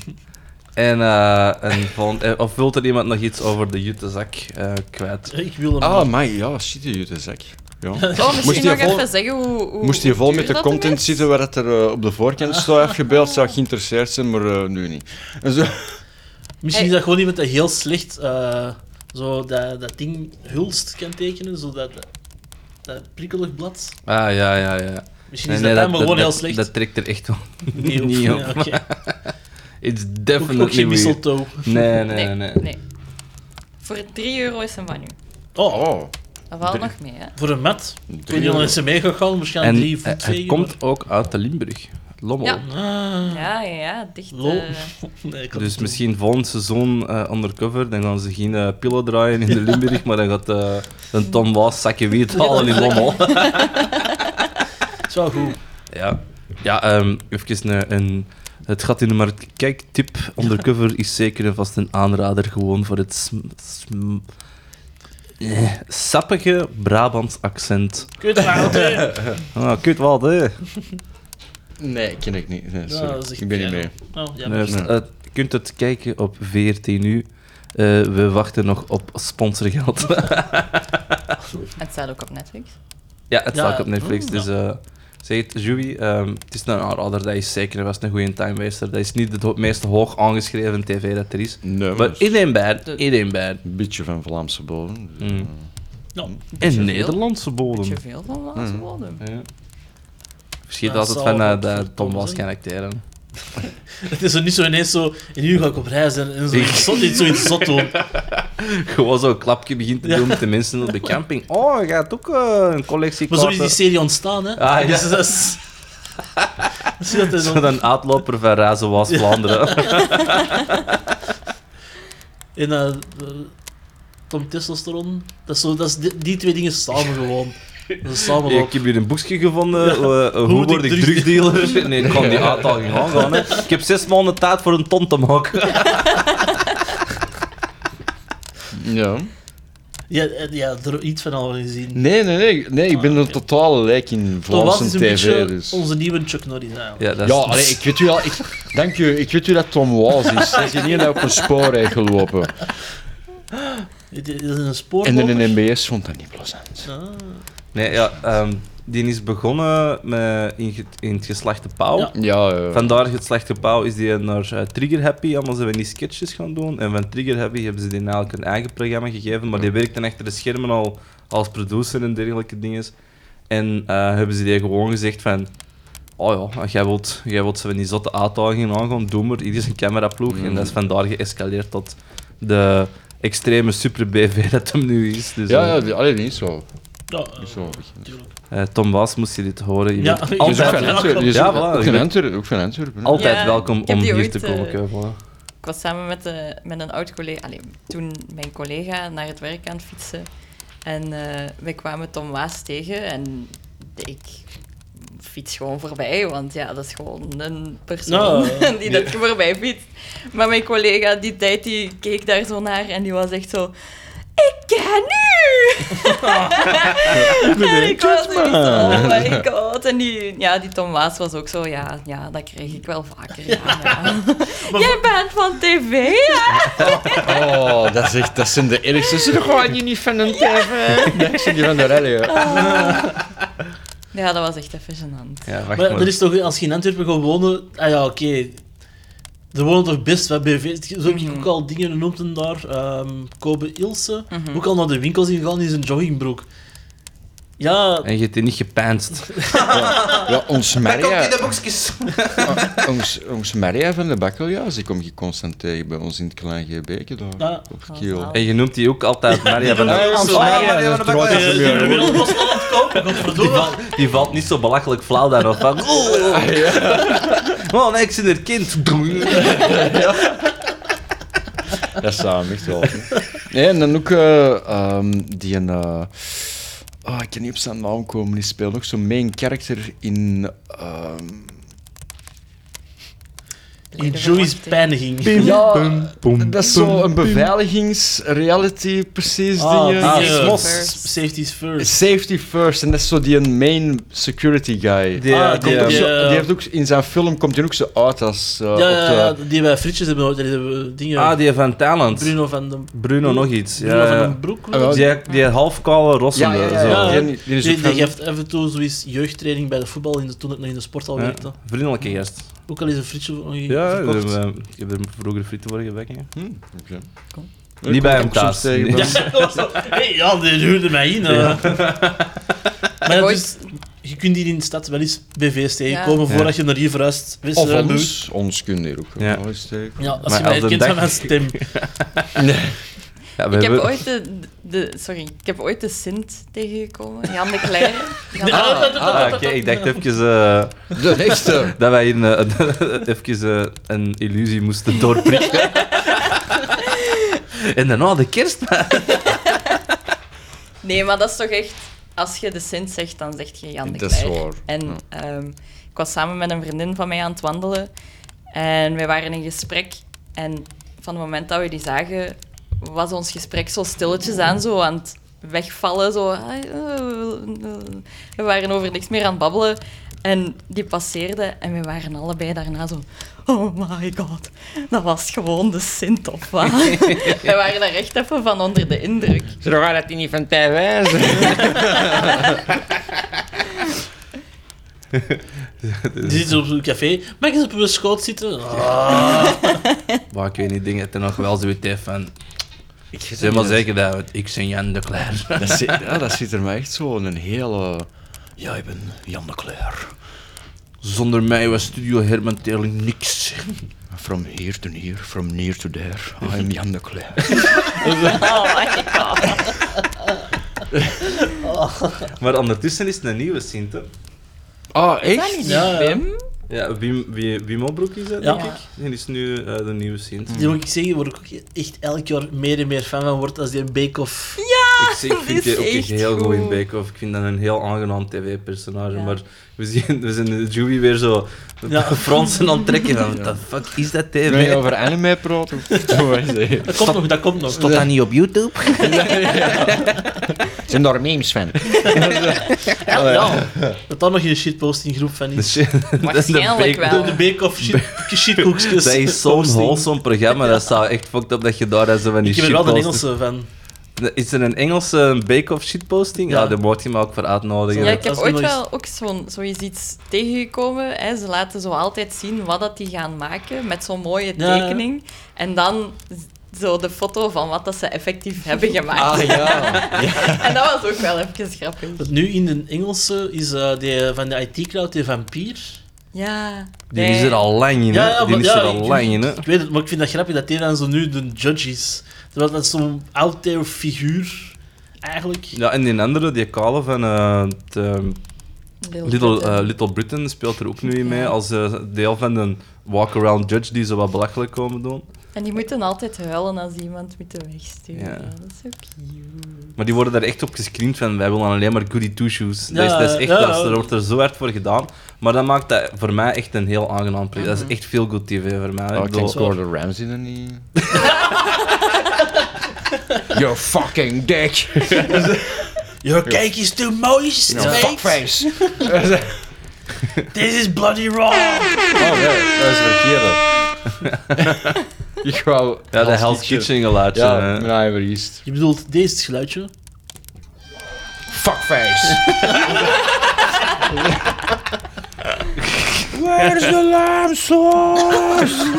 en, eh, en van, eh, of wilt er iemand nog iets over de jutezak eh, kwijt? Ik wil hem. Ah, maar ja, shit, je de zak. Ja. Oh, Moest misschien je nog vol- even zeggen hoe, hoe Moest je vol hoe met duur de dat hem content is? zitten waar dat er eh, op de voorkant staat afgebeeld, zou ik geïnteresseerd zijn, maar eh, nu niet. En zo. Misschien is Hey. dat gewoon iemand dat heel slecht eh, zo dat, dat ding hulst kan tekenen, zo dat, dat prikkelig blad. Ah, ja, ja, ja. Misschien is dat, dat, maar gewoon heel slecht. Dat, trekt er echt wel Nee, niet op. of- ja, oké. It's Ook, ook definitely geen weird. mistletoe. Nee, nee, nee. nee. Voor 3 euro is hem van u. Oh, Oh, Dat valt Drie- nog mee, hè? voor een mat. Ik weet Drie niet of euro. mensen mee gaan gaan, misschien En drie hij- voet hij twee. komt ook uit de Limburg. Lommel. Ja. maar- Ah, Ja, ja, ja. Dicht. eh, lol. Nee, ik had Dus het- misschien volgend seizoen eh, undercover, dan gaan ze geen eh, pillen draaien in de Limburg, maar dan gaat eh, een Tom Waas zakje wiet halen in Lommel. Het is wel goed. Ja, ja ehm, even een, een- het gat in de markt. Kijk, tip, undercover is zeker en vast een aanrader gewoon voor het sm, sm- eh, sappige Brabants accent. Kut, maar oké. Ah, kut wat, hè? Nee, ken ik niet. Nee, sorry. dat is echt ik ben niet jammer. mee. Nou, ja, Dus, nee. eh, je kunt het kijken op 14 uur. Eh, we wachten nog op sponsorgeld. Het staat ook op Netflix. ja, het Ja, staat op Netflix. mm, Dus eh, zeg het, Joey, ehm, het is een aanrader, dat is zeker en vast een goede time waster. Dat is niet het ho- meest hoog aangeschreven tv dat er is. Nee, maar Maar dat is iedereen bad, iedereen bad. een beetje van Vlaamse bodem. dus, Mm. eh, Ja. Beetje En veel. Nederlandse bodem. Beetje veel Mm. van Vlaamse bodem. eh, Ja. Verschiet Ja, altijd zal van eh, wel dat voor Tom Tom was zijn. gaan acteren. Het is zo niet zo ineens zo, en nu ga ik op reis en, en zo, Ik- zot, iets, zoiets zot doen. Gewoon zo'n klapje begint te Ja. doen met de mensen op de camping. Oh, je gaat ook eh, een collectie Maar zo is die kaarten. serie ontstaan, hè. Ah, ja. Dus dat is... Zie je dat er zo- Zo'n uitloper van Razen was Ja. Vlaanderen. En eh, eh, Tom Testosteron, dat is, zo, dat is die, die twee dingen samen gewoon. Dat is samen ik heb hier een boekje gevonden. eh, eh, hoe, moet word ik ik drug- drugdealer? Nee, ik kan die uitdaging aangaan. Hè. Ik heb zes maanden tijd voor een ton te maken. Ja. Ja, eh, ja, er iets van al gezien. Nee, nee, nee, Ah, nee. Ik ben een totale lijk in Tom Waas Vlaamse is een tv. beetje Dus. onze nieuwe Chuck Norris eigenlijk. Ja, dat Ja, is allee, ik weet u al. Ik, dank u. Ik weet u dat Tom Waas is. Dat is niet op een spoor heeft gelopen. Het is een spoor. En de NMBS vond dat niet plezant. Nee, ja, ehm, die is begonnen met in, ge- in het geslachte pauw. Ja. Ja, eh, Vandaar geslachte pauw is die naar eh, Trigger Happy, allemaal zijn we die sketches gaan doen. En van Trigger Happy hebben ze die eigenlijk een eigen programma gegeven, maar die werkte achter de schermen al als producer en dergelijke dingen. En eh, hebben ze die gewoon gezegd van, oh ja, jij wilt, jij wilt ze van die zotte uitdagingen aangaan, doe maar, hier is een cameraploeg. Mhm. En dat is vandaar geëscaleerd tot de extreme super BV dat hem nu is. Dus, ja, eh, ja die, allee, die is wel. Ja, eh, Die is wel bekend. tuurlijk. eh, Tom Waas moest je dit horen. Je Ja, bent ik- Die is ook altijd, van Antwerpen. die is Ja, ook- voilà, ook ik van ben- Antwerpen. Ook van Antwerpen. hè. altijd Ja, welkom ik heb om die hier ooit, te eh, komen. keuvelen. Ik was samen met, eh, met een oud collega, allee, toen mijn collega naar het werk aan het fietsen. En eh, wij kwamen Tom Waas tegen en ik fiets gewoon voorbij, want ja, dat is gewoon een persoon Nou, die dat voorbij fietst. Maar mijn collega die tijd die keek daar zo naar en die was echt zo. Ik ken u! en ik was Ah. echt zo, oh my god. En die, ja, die Tom Waas was ook zo, ja, ja dat kreeg ik wel vaker. ja, ja. Jij bent van tv, hè? Oh, dat, is echt, dat zijn de ergste. Ze gaan die niet van een tv. Nee, ik zie die van de rally. Ja, dat was echt even gênant. Ja, wacht Maar er is toch, als je in Antwerpen gaat wonen, ah ja, oké. Er wonen toch best wat BV's. Zo heb ik Mhm. ook al dingen genoemd en daar. ehm Kobe Ilse. Mhm. Ook al naar de winkels ingegaan in zijn joggingbroek. Ja, En je hebt die niet gepijnst. Ja, ons Maria, boekjes. ah, ons, ons Maria van de Bakkeljaars, die kom je constant tegen bij ons in het klein Gebeke daar. Ja. Op Kiel. En je noemt die ook altijd Maria van Ja, der ons Ons Maria, dat is trouwens eh, een die meer, hoor. willen ons wel ontkopen, Die godverdomme. valt, die valt niet zo belachelijk flauw daarop van. Oh, oh nee, ik zit er kind. Dat zou hem echt wel. Nee, en dan ook eh, ehm, die een. eh, oh, ik kan niet op zijn naam komen. Die speelt nog zo'n main character in. ehm, In Joey's pijniging. ja, dat is zo'n beveiligingsreality, precies. Ah, dingen. die, Ah, eh, Mos. Safety's first. Safety first, en dat is zo die een main security guy. Die, Ah, eh, die, die, Ook eh, zo- eh, die heeft ook in zijn film komt hij ook zo uit als. eh, Ja, op ja, de- ja, die bij frietjes hebben we- die hebben we dingen. ah, die van Talent. Bruno van den Bruno nog iets. Bruno van Ja. den Broek. Ah, wel, Die, die halfkale rossende. Ja, ja, ja, zo. ja. eh, Die, die is Die, ook die van- geeft af en toe zoiets jeugdtraining bij de voetbal in de, toen ik nog in de sporthal Ja, werkte. Vriendelijke gast. Ook al is een frietje nog niet Ja, ik verkocht. heb, eh, ik heb er vroeger frieten voor gebakken. Hm, oké. ja. Niet bij hem ook soms thuis. tegen Nee. bij- Ja, dat was zo. Hey, ja, die huurde mij in. eh. Maar ja, dus, je kunt hier in de stad wel eens BV's tegenkomen Ja. voordat je naar hier verhuist. Wist je Of dat doet? ons, ons kunnen hier ook. eh, Ja. wel eens tegen. Ja, als Maar je mij als een herkent dag- van mijn stem. Ja, we Ik heb hebben- ooit de, de... Sorry, ik heb ooit de Sint tegengekomen. Jan de Kleijer. Jan de- Ah, oké, ik dacht even eh, De rechtste. dat wij hier eh, even eh, een illusie moesten doorprikken. en daarna de kerst. Nee, maar dat is toch echt... Als je de Sint zegt, dan zeg je Jan de Dat is Kleijer. waar. En ehm, ik was samen met een vriendin van mij aan het wandelen. En wij waren in gesprek. En van het moment dat we die zagen, was ons gesprek zo stilletjes aan, zo aan het wegvallen. Zo. ah, eh, eh. We waren over niks meer aan het babbelen. En die passeerde en we waren allebei daarna zo... Oh my god, dat was gewoon de Sint of wat? we waren daar echt even van onder de indruk. Ze gaan dat niet van tijd wijzen. Die zitten op zo'n café. Mag ik eens op uw schoot zitten? Ah, Maar ik weet niet, dingen er nog wel zoiets heeft van... Ik weet het Zeg maar niet. zeker dat, want ik ben Jan de Cler. Dat zit, ja, dat zit er mij echt zo in een hele... Ja, ik ben Jan de Cler. Zonder mij was Studio Herman Teling niks. From here to near, from near to there. I'm Jan de Cler. Oh my god. Maar ondertussen is het een nieuwe Sinte. Ah, Dat echt? is- Ja, ja. Ja, Wim, Wim, Wim Obroek is dat, Ja. denk ik. Die is nu eh, de nieuwe Sint. Die moet ik zeggen, waar ik ook echt elk jaar meer en meer fan van word als die een bake-off. Ik, zie- ik dat vind is die ook echt echt heel goed, goed. in Bake Off. Ik vind dat een heel aangenaam tv-personage. Ja. Maar we, zien, we zijn de Joey weer zo Ja. fronsen aan het trekken. Van, what the fuck is dat tv? Ben je over anime praten? Dat komt nog, dat komt nog. Stond dat niet op YouTube? Zijn daar memes van? Ja, ja. Dat dan nog in de shitpostinggroep van Dat is. is- dat is de Waarschijnlijk Bake- wel. De bake-off shit, shitkoekjes. Dat is zo'n posting. wholesome programma. Dat staat echt fucked op dat je daar dat zo van die Dus- Ik heb er wel de shitposts- Engelse van. Is er een Engelse bake-off shitposting? Ja, Ja. daar moet je me ook voor uitnodigen. Ja, ik Dat heb is ooit nog eens- wel ook zo'n, zoiets iets tegengekomen. Hè. Ze laten zo altijd zien wat dat die gaan maken met zo'n mooie Ja, ja. tekening. En dan z- zo de foto van wat dat ze effectief hebben gemaakt. Ah, Ah, ja. En dat was ook wel even grappig. Dat nu in de Engelse is eh, die van de IT-cloud, die vampier. Ja. Die nee. is er al lang in, hè? die maar- is er al ik- lang in, hè? Ik weet het, maar ik vind dat grappig dat die dan zo nu de judge is. Terwijl dat zo'n out there figuur, eigenlijk. Ja, en die andere, die kale van eh, het, ehm, Little, Little, Britain. eh, Little Britain speelt er ook nu in mee Ja. als eh, deel van een walk-around judge die ze wat belachelijk komen doen. En die moeten altijd huilen als iemand moeten wegsturen. Ja. Ja. Dat is ook cute. Maar die worden daar echt op gescreend van, wij willen alleen maar goody two-shoes. Ja, dat, is, dat is echt, ja, dat is- ja. daar wordt er zo hard voor gedaan. Maar dat maakt dat voor mij echt een heel aangenaam project. Dat is echt veel good tv voor mij. Ik Oh, ik bedoel- denk Gordon Ramsay dan niet. You're fucking dick. Your cake is too moist, mate. Fuckface. This is bloody wrong. Oh nee, dat is verkeerd. Ik wou... ja, de Hell's Kitchen geluidje. Ja, hè. nee, verliest. Je bedoelt deze geluidje? Fuckface. Where's the lamb sauce?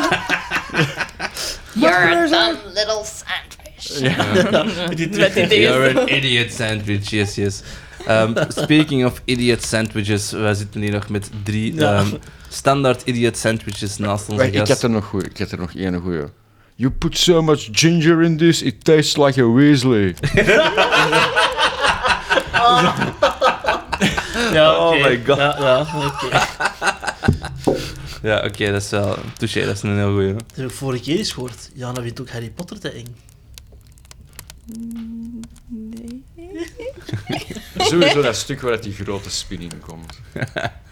You're the little sandwich. Met die deze. You're an idiot sandwich, yes, yes. Um, speaking of idiot sandwiches, wij zitten hier nog met drie Ja. ehm, standaard idiot sandwiches naast onze ik gast. had er nog goeie. Ik had er nog één goeie. You put so much ginger in this, it tastes like a Weasley. Ja, Oh oké. my god. Ja, ja oké. Ja, oké, dat is wel... Touché, dat is een heel goeie. hè. Dat heb ik vorige keer eens gehoord. Jana vindt ook Harry Potter te eng. Sowieso dat stuk waar die grote spin in komt.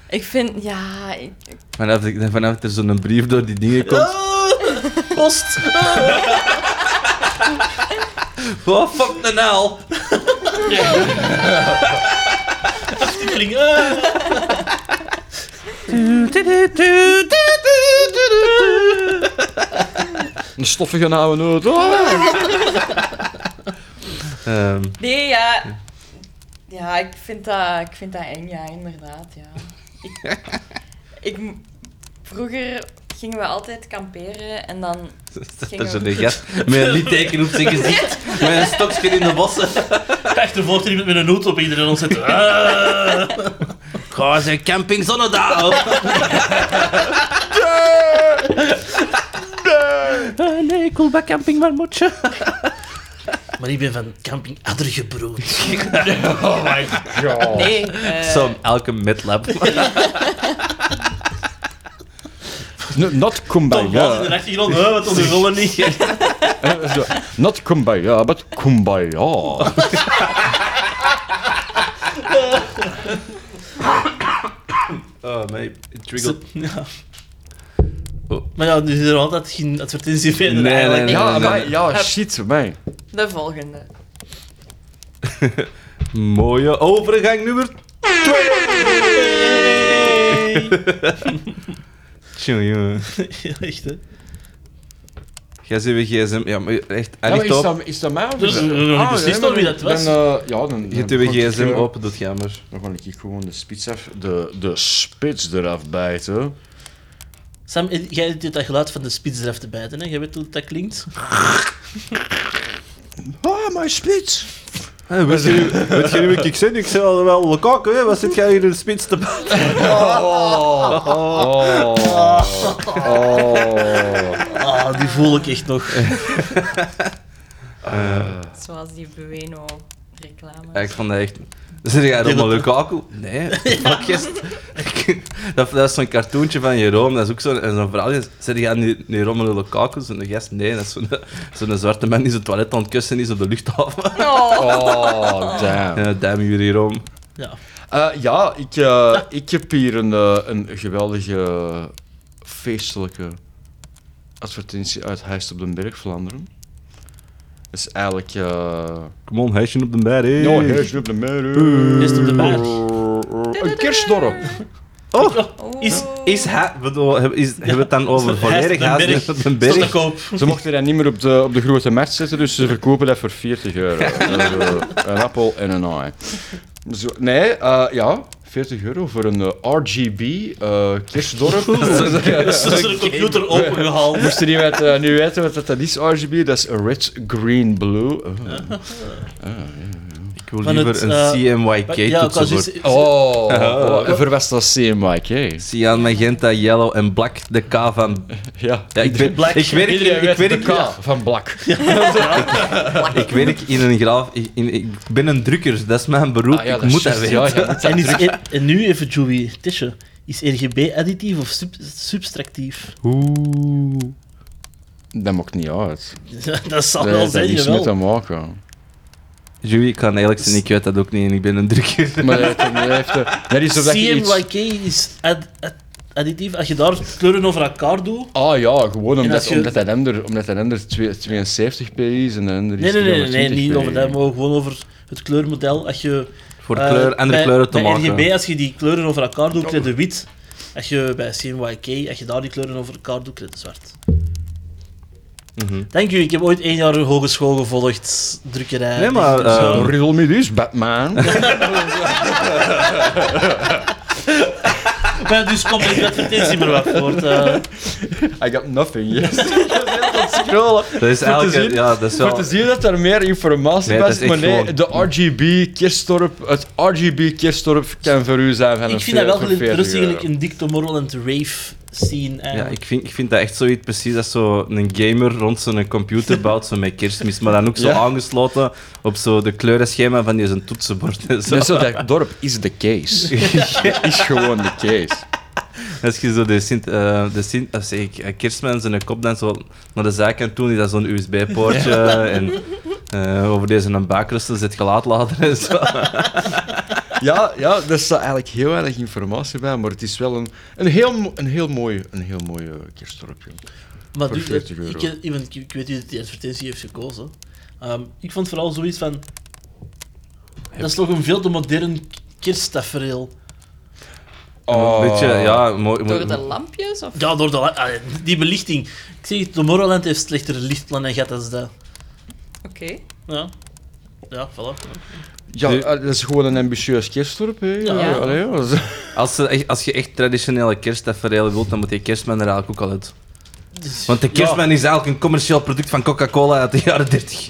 Ik vind, ja, ik- Vanaf, ik- vanaf er zo'n brief door die dingen komt... Ah! Post! Oh, fuck de naal! Kling, ah. Een stoffige oude noot. Oh! Ehm, Nee, ja. Ja, ik vind dat, ik vind dat eng, ja, inderdaad. Ja. Ik, ik, m- vroeger gingen we altijd kamperen en dan staat er Gingen zo'n we- gast met een litteken op zijn gezicht, met een stokje in de bossen. Echt, er volgt er iemand met een hoed op iedereen ons zitten. Ah. Ga ze camping zonnedaal! Eh, nee, cool bij camping, maar moet je? Maar ik ben van camping Addergebroed. nee, eh, Zo'n elke midlab. Not Tom Waas in de kumbaya. achtergrond, hè, wat onze rollen niet. Eh, zo, Not kumbaya, but kumbaya. Oh, nee, it triggered. Ja. Oh. Maar ja, nu is er altijd geen advertentie verder. Nee, nee, eigenlijk. nee. Ja, maar, ja, shit, mij. de volgende. Mooie overgang nummer 2. jongen. Ja, Echt, hè. Jij zit weer gsm. Ja, maar echt, Ja, maar echt op. is dat mij? of Dus is dat- we hebben nog niet Ah, beslist nee, nog wie dat dan, was. eh, ja, dan... Je hebt dan je kon ik, gsm eh, open, doet jij maar. Dan kan ik gewoon de spits af... De, de spits eraf bijten. Sam, eh, jij doet dat geluid van de spits eraf te bijten, hè? Jij weet hoe dat klinkt? Ah, mijn spits. Hey, weet, je, weet je niet wie ik zit? Ik zei al wel Lukaku, hè? wat zit jij hier in de spits te maken? Oh. Oh. Ah, die voel ik echt nog. Eh, Zoals die Bueno-reclame. Ja, ik vond dat echt... Zit jij helemaal Lukaku? Nee, fuck yes. dat, dat is zo'n cartoontje van Jeroen, dat is ook zo'n en zo'n verhaal. Zit jij nu, nu Romelu Lukaku? Zo'n gast? Nee, dat is zo'n zo'n zwarte man die zijn toilet aan het kussen is op de luchthaven. Oh. Oh, damn. Ja, damn jullie Rome. Ja. Eh, ja, ik, eh, ik heb hier een, eh, een geweldige feestelijke advertentie uit Heist op den Berg, Vlaanderen. Dat is eigenlijk... eh Come on, huisje op de berg. hey. Ja, Heist op den Berg. Heist op den Berg. Een kerstdorp. Oh, Is- is hij... Bedoel, heb- is, hebben we het dan over volledig huis op de Tot de berg? koop. Ze mochten dat niet meer op de, op de grote markt zetten, dus ze verkopen dat voor 40 euro. Dus, eh, een appel en een ei. Zo, nee, eh, ja, 40 euro voor een eh, RGB eh kerstdorp. Dus is de computer opengehaald. Moesten die wat, eh, nu weten wat dat dat is, RGB? Dat is Red, Green, Blue. Oh. Ik wil Van liever het, eh, een CMYK Ja, ik was toetsenbord. juist- Oh, oh, voor was dat CMYK? Cyan, magenta, yellow en black, de K van... Ja. Ja, ik, ben, Black. ik werk, in, Iedereen ik, weet de werk, K van Black. ik werk in een graaf... Ik, in- ik ben een drukker, dus dat is mijn beroep. Ah, ja, ik dat is moet dat juist, weten. ja, ja, moet dat En, is, terug- en, en nu even Joey Tische. Is RGB additief of sub- subtractief? Oeh. Dat maakt niet uit. dat zal Dat wel heeft zijn, niks mee te jawel. maken. Joey, ik kan eerlijk zijn, ik weet dat ook niet en ik ben een drukker. Maar dat heeft- dat heeft... eh, Dat is of dat je iets... CMYK is ad- ad- additief. Als je daar kleuren over elkaar doet... Ah ja, gewoon omdat, als je- omdat, dat ander, omdat dat ander twee- 72p is en de ander is Nee, nee, nee, nee, nee, 320p. niet over dat, maar gewoon over het kleurmodel. Als je, Voor eh, kleur, andere bij- kleuren te bij maken. RGB, als je die kleuren over elkaar doet, krijg je wit. Als je bij CMYK, als je daar die kleuren over elkaar doet, krijg je zwart. Mhm. Dank u, ik heb ooit één jaar hogeschool gevolgd, drukkerij. Nee, maar, techniek, zo. eh, Riddle me this, Batman. Maar dus komt de advertentie maar wat voort. eh. I got nothing, yes. Ik was net aan het scrollen. Dat is Voor te eigenlijk... zien- Ja, dat is Voor wel... te zien dat er meer informatie Nee, bij dat is, is maar echt nee, gewoon- de RGB Kerstorp, het RGB Kerstorp kan voor u zijn van een ik vind dat wel veer- gelu- voor 40 rustig euro. eigenlijk een Dick Tomorrowland rave scene. eh. Ja, eigenlijk. ik vind, ik vind dat echt zoiets precies als zo een gamer rond zo'n computer bouwt, zo met kerstmis, maar dan ook zo Ja. aangesloten op zo de kleurenschema van die zijn toetsenbord. en Zo. Dat, is zo, dat dorp is de case. is gewoon de case. Als je zo de, Sint, eh, de Sint, of zeg ik, eh, kerstman zijn kop dan zo naar de zijkant doen, is dat zo'n USB-poortje. En eh, over deze een baakrusten zit gelaadlader en zo. Ja, ja, daar staat eigenlijk heel weinig informatie bij, maar het is wel een, een, heel, mo- een heel mooi, een heel mooi eh, kerstdorp, joh. Maar Voor nu, 40 euro. Ik, ik, ik- ik weet niet dat die advertentie heeft gekozen. Ehm, ik vond vooral zoiets van... Dat is toch een veel te modern kersttafereel. Oh. Ah. Een beetje, ja, mooi. Door de lampjes? Of? Ja, door de, la- ah, die belichting. Ik zeg het, Tomorrowland heeft slechtere lichtplannen gehad als dat. Oké. Ja. Ja, voilà. Ja, Nu- eh, dat is gewoon een ambitieus kerstdorp, hè. Ja. Ja. allee, ja, dat is- Als, ze echt- als je echt traditionele kerstafferelen wilt, dan moet die kerstman er eigenlijk ook al uit. Dus- Want de kerstman is eigenlijk een commercieel product van Coca-Cola uit de jaren 30.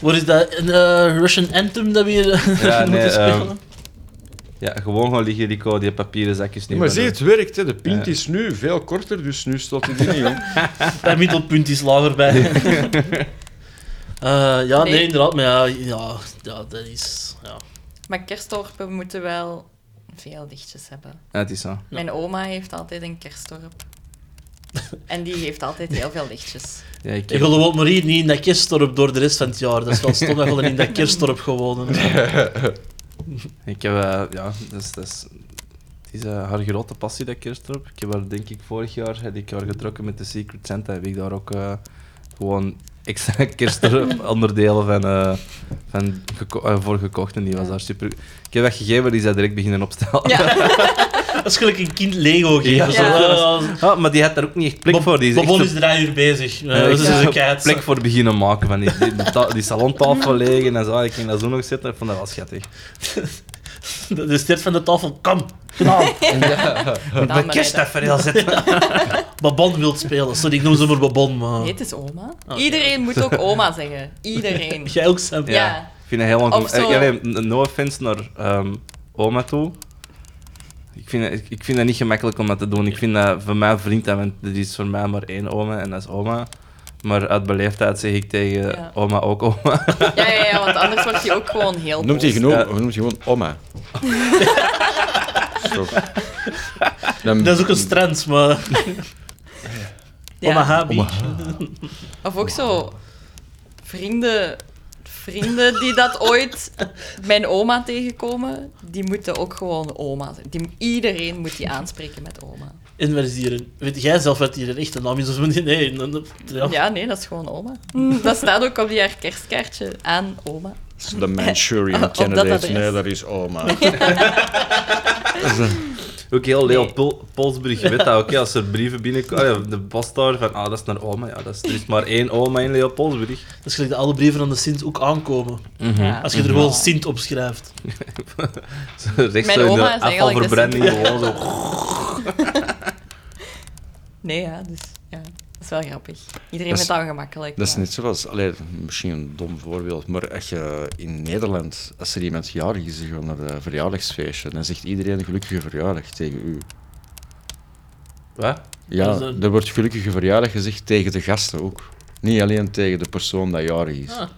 Wat is dat? Een eh, Russian Anthem dat we hier eh, Ja, moeten nee, spelen? ehm, Ja, gewoon gaan liggen, Rico, die papieren zakjes niet maar meer. zie, het werkt, hè. De pint Ja. is nu veel korter, dus nu staat hij er niet om. Dat middelpunt is lager bij. Eh, ja, nee. Nee. inderdaad, maar ja, ja, ja dat is. Ja. Maar kerstdorpen moeten wel veel lichtjes hebben. Ja, het is zo. Mijn oma heeft altijd een kerstdorp. en die heeft altijd heel veel lichtjes. Ja, ik Ik wil ook maar hier niet in dat kerstdorp door de rest van het jaar. Dat is wel stom dat je in dat kerstdorp gewoond hebt. Ik heb, eh, ja, dat is, dat is, het is eh, haar grote passie, dat kerstdorp. Ik heb haar, denk ik, vorig jaar heb ik haar getrokken met de Secret Santa. Heb ik daar ook eh, gewoon extra kerstdorp onderdelen van, eh, van geko- eh, voor gekocht. En die was daar super... Ik heb dat gegeven, maar die zijn direct beginnen opstellen. Dat is gelijk een kind Lego Ja, geven. zo. ja. Eh, Ah, maar die had daar ook niet echt plek Bob- voor. Die is Bobon echt is er een uur bezig. Eh, Ja, ik dat is heb dus een zo'n kijk. plek voor beginnen maken. Van die, die, die ta- die salontafel liggen en zo. Ik ging daar zo nog zitten. Ik vond dat wel schattig. De, de stert van de tafel, kom, Ja. Moet mijn maar nee, kersttafereel zetten. Babon wilt spelen. Sorry, ik noem ze maar Babon, maar... Nee, het is oma. Iedereen moet ook oma zeggen. Iedereen. Jij ook, Sam? Ja. Ik vind het heel Eh, Of ongelooflijk. zo- no offense naar ehm, oma toe. Ik vind, het- ik, ik vind dat niet gemakkelijk om dat te doen. Ik vind dat voor mij vriend dat, want er is voor mij maar één oma en dat is oma. Maar uit beleefdheid zeg ik tegen Ja. oma ook oma. Ja, ja, ja, want anders wordt hij ook gewoon heel Noemt hij boos. genoeg, Ja. of noemt hij gewoon oma. Stop. Dan- Dat is ook een strand, maar... Ja. Oma H. Beach. Of ook zo vrienden, vrienden die dat ooit mijn oma tegenkomen, die moeten ook gewoon oma zijn. Die, iedereen moet die aanspreken met oma. Inversieren. Weet jij zelf wat hier een echte naam is of niet? Nee, dan- dan- ja. Ja, nee, dat is gewoon oma. Mm, Dat staat ook op die haar kerstkaartje aan oma. De Manchurian Oh, op dat candidate. adres. Nee, dat is oma. Ook heel Nee. Leo Pol- Polsbrug weet dat ook. hè. Als er brieven binnenkomen, ah ja, de post daar van ah, dat is naar oma. Ja, dat is, er is maar één oma in Leo Polsbrug. Dat is gelijk dat alle brieven aan de Sint ook aankomen. Ja. Als je er gewoon Sint op schrijft. Zo Rechts Mijn zo in oma de is eigenlijk de afvalverbranding gewoon zo. Nee, ja, dus ja. Dat is wel grappig. Iedereen Dat is- vindt dat gemakkelijk. Dat is net zoals, allee, misschien een dom voorbeeld, maar als je in Nederland, als er iemand jarig is, die gaat naar een verjaardagsfeestje, dan zegt iedereen gelukkige verjaardag tegen u. Wat? Ja, Dus dan- er wordt gelukkige verjaardag gezegd tegen de gasten ook. Niet alleen tegen de persoon dat jarig is. Ah.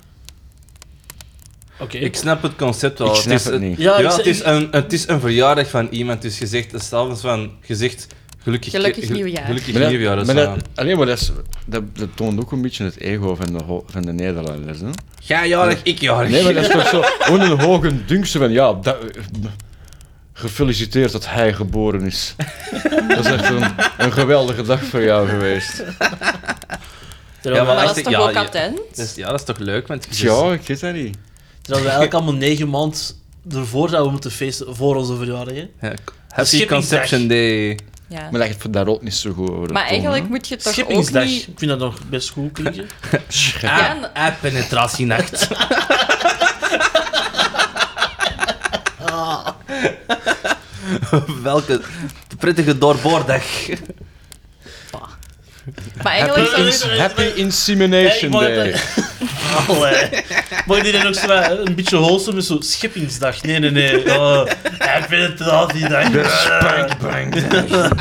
Oké. Ik snap het concept wel. Ik snap is, het niet. Ja, Ja, het, ik zeg- is een, het is een verjaardag van iemand. Dus je zegt, het is s'avonds van, je zegt gelukkig, Gelukkig gel- nieuwjaar. Gelukkig Maar dat- nieuwjaar. maar zo. dat, alleen maar dat, is- dat, dat toont ook een beetje het ego van de, ho- van de Nederlanders. Hè? Jij jarig, ik jarig. Nee, maar dat is toch zo. Gewoon een hoge dunkse van ja. Dat, gefeliciteerd dat hij geboren is. Dat is echt een, een geweldige dag voor jou geweest. Terwijl, Ja, Maar wij, dat is Echt, toch ja, ook ja. attent? Dus ja, dat is toch leuk? Want je Ja, ik weet dat niet. terwijl wij eigenlijk allemaal negen maand ervoor zouden moeten feesten voor onze verjaardag. hè. Ja, happy Schippingsdag. Conception Day. Ja. Maar dat gaat daar ook niet zo goed over. Maar eigenlijk moet je toch ook Schippingsdag. niet... Ik vind dat nog best goed klinken. Ah, Ja, penetratienacht. Welke prettige doorboordag. maar eigenlijk Happy, zou je- ins- happy Insemination Hey, ik wou Day. het- Allee. Mag die dan ook zo wat- een beetje wholesome is, zo schippingsdag? Nee, nee, nee. Oh, ik vind het al die dag. Bang, bang, bang.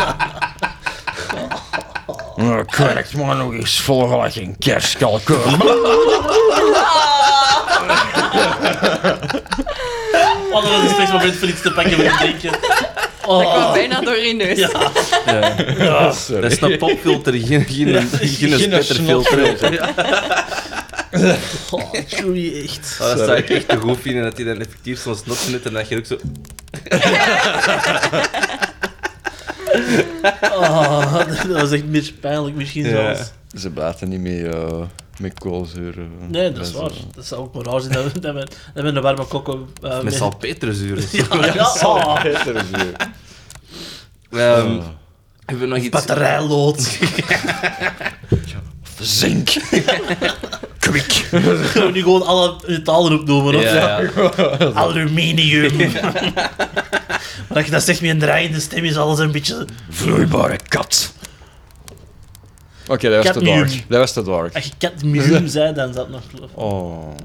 Oh, correct, maar nog eens volgen als een Oh, kerstkalkoen. dat was een slecht moment voor iets te pakken en te drinken. Ik Oh, kwam bijna door je neus. Ja. Ja, Dat is een popfilter, geen, geen, geen, Geen spetterfilter. snotfilter. oh Joey, echt. Oh, dat zou ik echt te goed vinden, dat hij dan effectief zo'n snot snuit en dat je ook zo... Oh, dat was echt een beetje pijnlijk misschien Ja. zelfs. Ze baten niet mee eh, met koolzuur. eh. Nee, dat is zo. waar. Dat zou ook maar raar zijn dat we, dat we, dat we een warme kokko... eh, Met mee- salpeterzuur. Ja, ja. Oh, Oh. Ehm, hebben we nog iets... batterijlood. Zink. Kwik. Gaan we nu gewoon alle metalen opnoemen, of? Ja, ja. Aluminium. maar als je dat zegt met een draaiende stem, is alles een beetje... Vloeibare kat. Oké, dat was te Cadmium. dark. Dat was te dark. Als je cadmium zei, dan zat nog... Oh.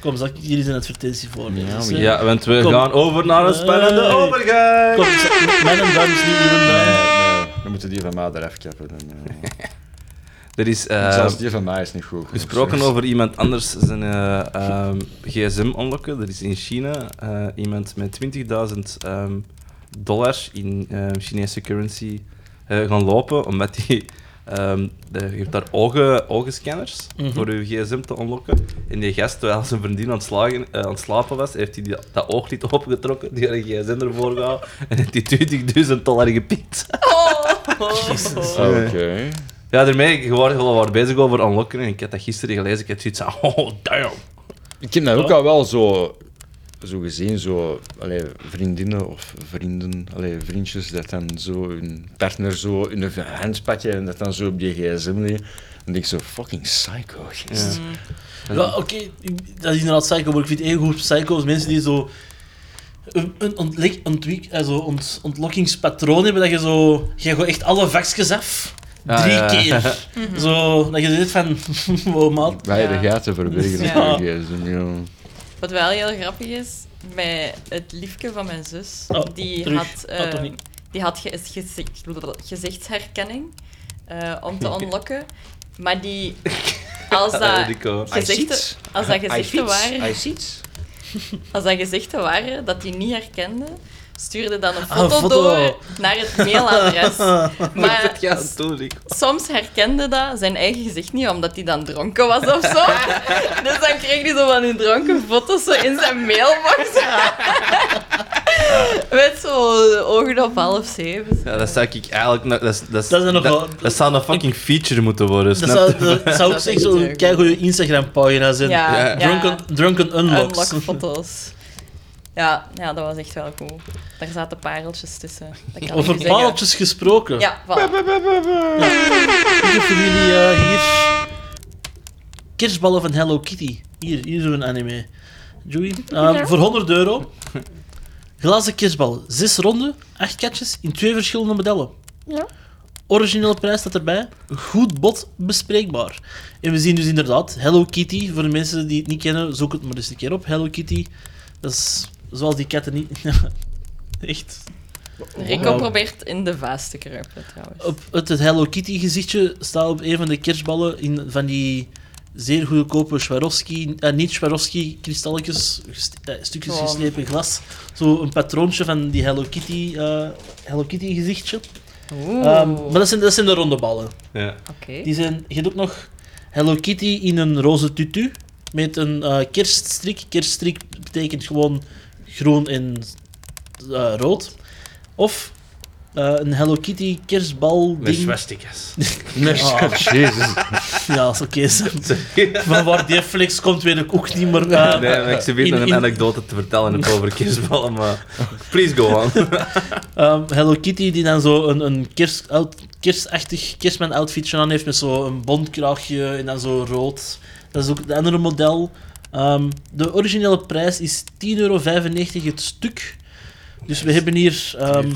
Kom, zal ik hier eens een advertentie voor lezen? Ja, Dus, maar eh, Ja, want we Kom. gaan over naar een spannende Nee. overgang. Kom, zeg, mijn duim is niet uw Nee, duim. nee. We moeten die van mij eraf kappen. En, eh, Er is eh, Zelfs die van mij is niet goed. dus. gesproken over iemand anders zijn eh, ehm, gsm onlokken. Er is in China eh, iemand met 20.000 ehm, dollars in ehm, Chinese currency eh, gaan lopen, omdat hij... ehm, de- je hebt daar ogen, ogenscanners Mhm. voor je gsm te onlokken. En die gast, terwijl zijn vriendin aan het, slagen, eh, aan het slapen was, heeft hij die- dat ooglid opengetrokken, die had een gsm ervoor gehaald, en heeft hij 20.000 dollar gepikt. Oh. Oké. Ja, daarmee, ik was al wat bezig over unlocken en ik had dat gisteren gelezen. Ik had zoiets van, oh, damn. Ik heb dat Oh. ook al wel zo, zo gezien, zo, allee, vriendinnen of vrienden, allee, vriendjes, dat dan zo hun partner zo in een hand pakken en dat dan zo op je gsm liggen. Dan denk ik zo, fucking psycho. gast. Ja, oké, ik- dat is inderdaad psycho, maar ik vind het heel goed psycho's mensen die zo een, een, ontlek, ontwiek, eh, zo ont, ontlokkingspatroon hebben dat je zo. Je gooit echt alle vakjes af. Ja, drie Ah, ja, ja. keer. Mhm. Zo, dat je dit van. wow, maat. Bij de Ja. gaten verbergen. Ja. Ja. Ja. Wat wel heel grappig is, met het liefje van mijn zus, Oh, die, terug. had, Oh, toch eh, niet. die had ge- gezicht- gezichtsherkenning eh, om te unlocken. Maar die, als dat, Rico. gezichten, als dat gezichten waren, ziet. als dat gezichten waren dat die niet herkende, stuurde dan een Ah, foto, foto. door naar het mailadres. maar Ja, doe Rico. soms herkende dat zijn eigen gezicht niet, omdat hij dan dronken was of zo. dus dan kreeg hij zo van die dronken foto's zo in zijn mailbox. Met zo ogen op half zeven. Ja, dat zou ik eigenlijk... nog- Dat, is- dat, is- Dat is nog wel- dat zou een fucking feature moeten worden, Dat snap zou, je? dat zou ook Dat echt is zo'n leuk. keigoede Instagram-pagina zijn. Ja, ja. Drunken, drunken Unlocks. Unlock-foto's. Ja, ja, dat was echt wel goed. Daar zaten pareltjes tussen. Dat kan Over ik je zeggen. paaltjes gesproken. Ja, voilà. Ik heb voor jullie eh, hier kerstballen van Hello Kitty. Hier, hier is een anime. Joey, eh, voor 100 euro. Glazen kerstbal, 6 ronden, 8 katjes in twee verschillende modellen. Originele prijs staat erbij. Goed bod bespreekbaar. En we zien dus inderdaad Hello Kitty. Voor de mensen die het niet kennen, zoek het maar eens een keer op. Hello Kitty. Dat is zoals die katten niet. Echt Rico Wauw. probeert in de vaas te kruipen, trouwens. Op het, het Hello Kitty gezichtje staat op een van de kerstballen in, van die zeer goedkope Swarovski, eh, niet Swarovski kristalletjes, gest- eh, stukjes Gewoon. geslepen glas. Zo een patroontje van die Hello Kitty, eh, Hello Kitty gezichtje. Oeh, Ehm, maar dat zijn, dat zijn de ronde ballen. Ja. oké. Die zijn, je hebt ook nog Hello Kitty in een roze tutu met een eh, kerststrik. Kerststrik betekent gewoon groen en eh, rood. Of eh, een Hello Kitty kerstbal Met ding. swastikas. Oh. Ah. Jezus. Ja, dat is oké. Van waar die flex komt, weet ik ook niet meer. Eh, Nee, maar ik zit weer in- nog een in- anekdote te vertellen over kerstballen, maar... Please go on. ehm, Hello Kitty die dan zo een, een kerst, out- kerstachtig kerstman-outfitje aan heeft met zo'n bondkraagje en dan zo rood. Dat is ook het andere model. Ehm, de originele prijs is 10,95 euro het stuk. Dus we hebben hier ehm,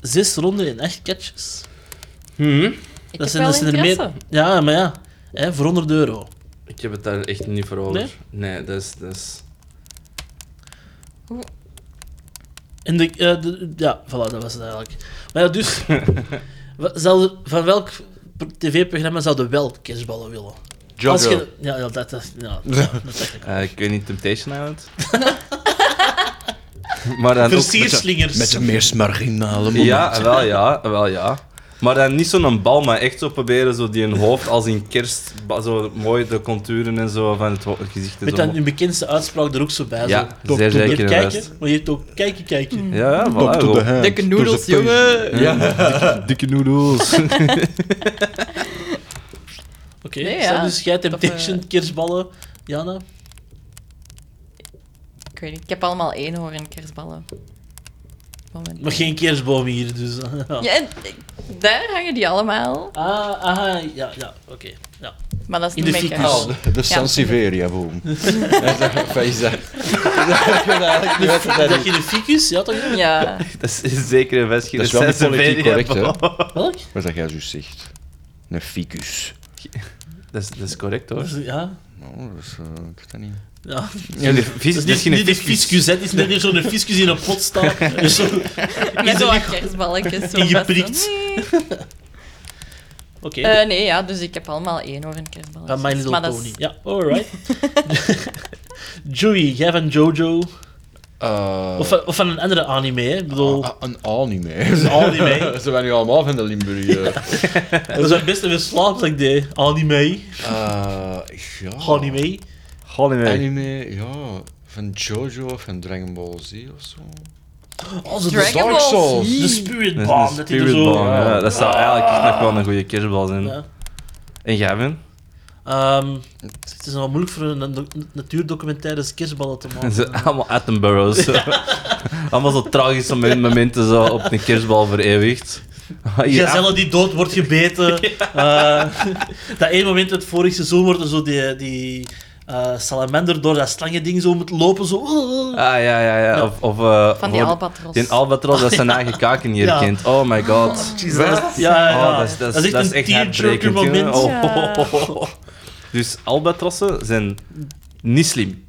zes ronden en acht catches. Ik heb wel interesse. Ja, maar ja, hè, voor 100 euro. Ik heb het daar echt niet voor over. Nee, dat is... Dat is... En de, eh, de- ja, voilà, dat was het eigenlijk. Maar ja, dus, wa- zou- van welk pr- tv-programma zouden wel kerstballen willen? Als Jojo. je- ja, ja, dat, dat, ja, dat, dat dacht ik Eh, ik weet niet, Temptation Island? maar dan ook. ook- Versierslingers. Met de meest marginale man. Ja, wel ja, wel ja. Maar dan niet zo'n bal, maar echt zo proberen zo die een hoofd als in kerst, ba- zo mooi de conturen en zo van het ho- gezicht en Met zo. dan hun bekendste uitspraak er ook zo bij. Ja, zo, Tok, zeer tok, zeker hier juist. kijken, maar je hebt ook kijken, kijken. Ja, ja, voilà, Dokter de gewoon. Haan. Dikke noedels, Door zijn jongen. pees. Ja, dikke, dikke noedels. Oké, Nee, stel ja. dus jij Toch, Temptation, kerstballen. Jana? Ik weet niet, ik heb allemaal eenhoorn kerstballen. Moment. Maar geen kerstboom hier, dus... ja. Ja, en, eh, daar hangen die allemaal, Ah, aha, ja, ja, oké. Ja. maar dat is In niet de mijn ficus. kerst. Oh, De Sansevieria boom. Feest. Ik ben eigenlijk niet wat het Zeg is. je de ficus? Ja, toch? Ja, dat is zeker een vestje. Dat is wel niet politiek correct, hè? Welk? Wat dat jij zo zegt. Een ficus. Dat is, dat is correct hoor. Ja. Nou, dat is... eh, ik weet dat niet. Ja, Ja, de vis, dit is Dat geen is Dus niet, niet de fiscus. fiscus, hè. Het is net hier zo'n fiscus in een pot staat. Dus zo- met is zo'n er niet- kerstballetjes. Zo Ingeprikt. best zo, nee. Oké. Eh, nee, ja, dus ik heb allemaal eenhoorn kerstballen. Van My Little maar dat is- Pony. Ja, alright. Joey, jij van Jojo. Eh, Oh. Of, van- of van een andere anime, hè. Ik bedoel, ah, ah, Een anime. een anime. Ze waren nu allemaal van de Limburg. eh. dat is het beste weer slaap dat ik deed. Anime. Eh, ja. Anime. Holy man. Anime, ja. Van Jojo of van Dragon Ball Z of zo. Oh, zo de, Dragon Dark Ball Z. Souls. de Spirit Dat is Bomb. een Dat hij er spirit zo... bomb, ja. Dat zou eigenlijk echt nog wel een goede kerstbal zijn. Ja. En jij, Ben? Ehm, het is nog wel moeilijk voor een natu- natuurdocumentaire kerstballen te En ze- maken. Allemaal Attenboroughs. zo. Allemaal zo tragische mom- momenten zo op een kerstbal vereeuwigd. Ja, Gazelle die dood wordt gebeten. Eh, dat één moment uit vorig seizoen worden zo die, die eh, salamander door dat slangending zo moet lopen. Zo. oh, Ah, ja, ja, ja. Of, of, eh, Van die voor- albatros. Die albatros dat zijn eigen kaken hier Ja. kent. Oh my god. Jezus, dat is- ja, ja, ja. Oh, dat is, dat is, dat is echt tearjerker hartbrekend. jongen. moment. Oh, oh, oh, oh. Dus albatrossen zijn niet slim.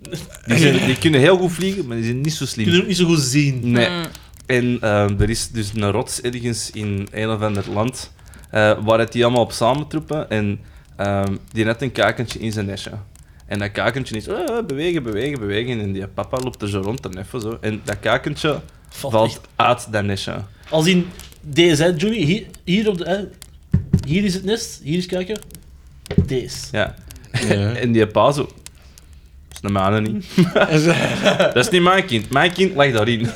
Die, zijn- die kunnen heel goed vliegen, maar die zijn niet zo Je kunt het slim. ook niet zo goed zien. Nee. Mm. En ehm, er is dus een rots ergens in een of ander land eh, waar het die allemaal op samentroepen. En ehm, die net een kakentje in zijn nesje. En dat kakentje is eh, bewegen, bewegen, bewegen. En die papa loopt er zo rond, dan even zo. En dat kakentje Valt valt echt. uit dat nesje. Als in deze, hè, Joey, hier, hier, op de, hè, hier is het nest, hier is kijken. Deze. Ja. En die pa zo... Dat is de mijne niet. dat is niet mijn kind. Mijn kind lag daarin.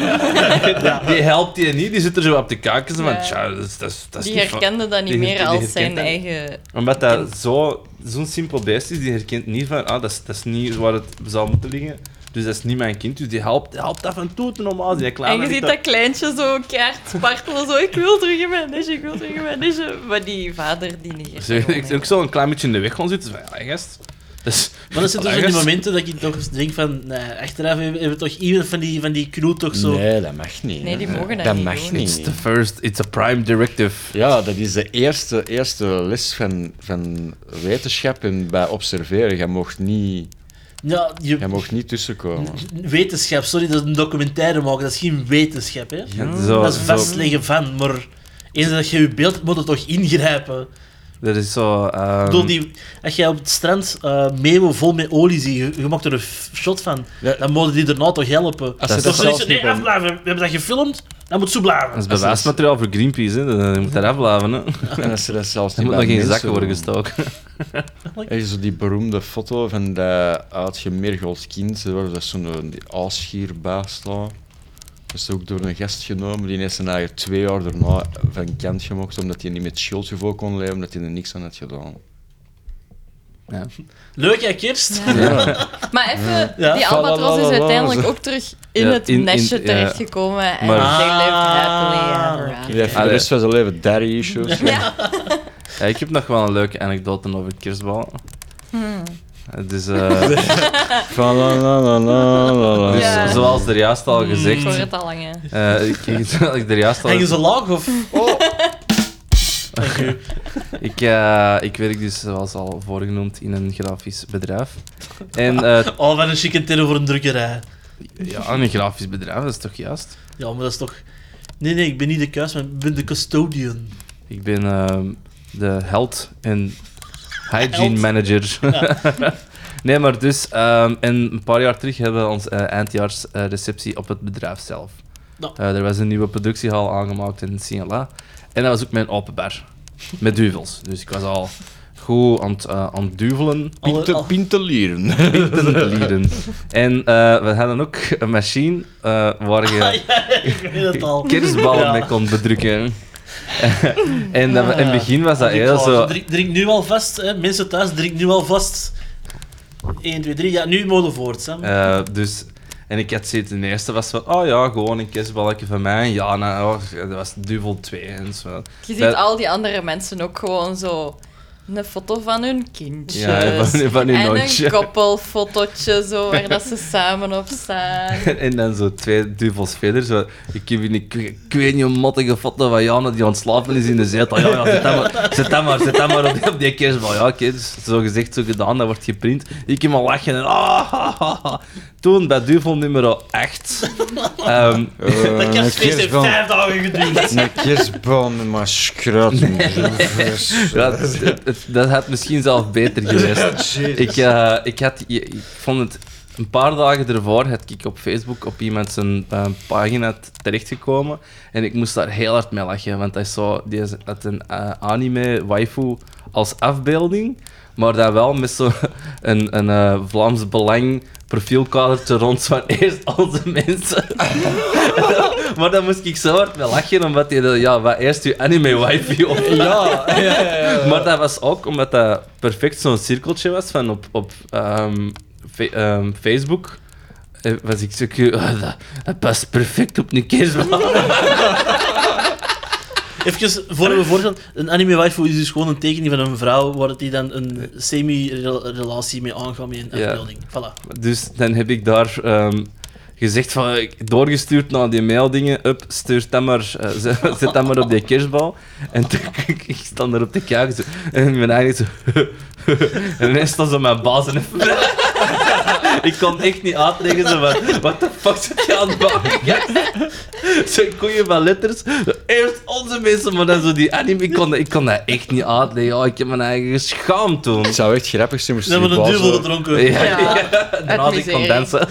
Die helpt je niet, die zit er zo op de kaken. Ja. van Tja, dat is, dat is, dat is Die niet van- herkende dat Die niet meer herken- die als herkent zijn dat niet. eigen... Omdat dat zo- zo'n simpel beest is, die herkent niet van, ah, dat is, dat is niet waar het zou moeten liggen. Dus dat is niet mijn kind, dus die helpt, helpt af en toe te normaal. Die En kleine je ligt ziet daar- dat kleintje zo kaart spartelen, zo ik wil terug in mijn nestje, ik wil terug in mijn nestje. Maar die vader die negeert Zo, gewoon, Dus ik hè. ook zo een klein beetje in de weg kon zitten. Van, ja, gast. Dus, Maar dat zijn toch zo die gast. momenten dat ik toch denk van, nee, achteraf hebben hebben we toch iemand van die, van die crew toch zo... Nee, dat mag niet. Nee, die hè. mogen dat dat niet mag doen. It's niet. the first, it's a prime directive. Ja, Ja, dat is de eerste, eerste les van, van wetenschap en bij observeren. Je mocht niet, Ja, je, je mocht niet tussenkomen. Wetenschap, sorry, dat is een documentaire maken, dat is geen wetenschap, hè. Ja, zo, dat is zo- vastleggen van, maar eens dat je je beeld hebt, moet er toch ingrijpen. Dat is zo. ehm, Ik bedoel, die, als jij op het strand eh meeuwen vol met olie ziet, je, je maakt er een f- shot van, Ja. dan moeten die er nou toch helpen. Als ze dat Als toch zoiets zelf van, niet nee, doen. afblijven, we hebben dat gefilmd, dat moet zo Dat is blijven. bewijsmateriaal voor Greenpeace, hè. Dat- Je moet daar afblaven, hè. Er En als ze dat zelfs niet moet bij nog geen mensen zakken worden doen. gestoken. Er is zo die beroemde foto van dat uitgemergeld kind, waar dat zo'n die aalschier bij staat. Dat is ook door een gast genomen, die is na twee jaar daarna van kant gemocht, omdat hij niet met schuldgevoel kon leven, omdat hij er niks aan had gedaan. Ja. Leuk, hè, Kirst? Maar even, Ja. die albatros is Falalalala, uiteindelijk zo. ook terug in Ja, het in- in- nestje ja. terechtgekomen. En Maar- they lived happily Ah, ever oké. after. Die heeft voor de Allee. rest van zijn leven daddy issues. Ja, Ja, ik heb nog wel een leuke anekdote over kerstbal. Hmm. Dus, eh, dus Van la la la la la la. Ja. zoals er juist al ik gezegd... hoor het al lang, hè. eh, ik, zoals ik er juist al... Hangen ze laag, of... Oh. Dank u. Ik, eh, ik werk dus, zoals al voorgenoemd, in een grafisch bedrijf. En eh, Oh, wat een chicken voor een drukkerij. ja, een grafisch bedrijf, dat is toch juist? Ja, maar dat is toch... Nee, nee, ik ben niet de kuis, maar ik ben de custodian. Ik ben ehm, de held en hygiene Held. manager. nee, maar dus, ehm, en een paar jaar terug hebben we onze eindjaarsreceptie op het bedrijf zelf. Nou. Eh, er was een nieuwe productiehal aangemaakt in Signala. En dat was ook mijn open bar. Met duvels. Dus ik was al goed aan het, eh, aan het duvelen. Alle- Pinte- al- Pintelieren. Pinten te lieden. En eh, we hadden ook een machine eh, waar je ik weet het al. kerstballen Ja. mee kon bedrukken. en dat we- in het begin was dat Als ik heel wou, zo... Drink, drink nu alvast, hè. mensen thuis, drink nu alvast. 1, 2, 3, ja, nu mogen we voort, Sam. Eh, dus, en ik had zoiets, de eerste was van, oh ja, gewoon een kerstballetje van mij. Ja, nou, oh, dat was duvel 2 en zo. Je ziet Dat- al die andere mensen ook gewoon zo... Een foto van hun kindjes. Ja, van, van hun en een hondje. koppelfotootje, zo, waar dat ze samen op staan. En dan zo twee duvels verder. Zo, ik heb hier een k- ik weet niet een mottige foto van Jana die aan het slapen is in de zetel. Ja, ja, zet dat maar, zet dat maar, zet dat maar op, op die kerstbal. Ja, oké, dus zo gezegd, zo gedaan, dat wordt geprint. Ik heb al lachen en ah, ha, ha, ha. Toen bij duvel nummer 8. ehm, Eh, dat een kerstfeest heeft kerstboom. vijf dagen geduurd. Een kerstboom, maar schrat. Ja, het- het- het- dat had misschien zelf beter geweest. Ik, eh, ik, had, ik, ik vond het een paar dagen ervoor had ik op Facebook op iemand zijn eh, pagina t- terechtgekomen en ik moest daar heel hard mee lachen, want hij zo, die is- had een eh, anime waifu als afbeelding, maar dat wel met zo'n een, een eh, Vlaams belang profielkadertje rond van eerst onze mensen. maar dan moest ik zo hard mee lachen, omdat hij dat- ja, wat eerst uw anime waifu op Ja, ja, ja, ja. maar dat was ook omdat dat perfect zo'n cirkeltje was van op, op ehm, fe- ehm, Facebook. Eh, Was ik zo, "Ah, dat, dat past perfect op een kerstbal. Even voor we voorgaan, een anime waifu is dus gewoon een tekening van een vrouw waar die dan een semi-relatie mee aangaat met een Ja. afbeelding. Voilà. Dus dan heb ik daar ehm, gezegd van, ik- doorgestuurd naar die maildingen, up, stuur dat maar, eh, zet zet dat maar op die kerstbal. En toen, ik, ik stond daar op te kijken zo, en ik ben eigenlijk zo... en ineens stond zo mijn baas en even... Ik kon echt niet uitleggen, zo van, wat de fuck zit je aan het maken? gast?" Zo'n koeien van letters. Eerst onze mensen, maar dan zo die anime. Ik kon, dat- ik kon dat echt niet uitleggen. Oh, ik heb mijn eigen geschaamd toen. Het zou echt grappig zijn, Ze moesten die hebben een duvel bazen... Ja, gedronken. ja. uit Daarnaast ik kon miserie. dansen.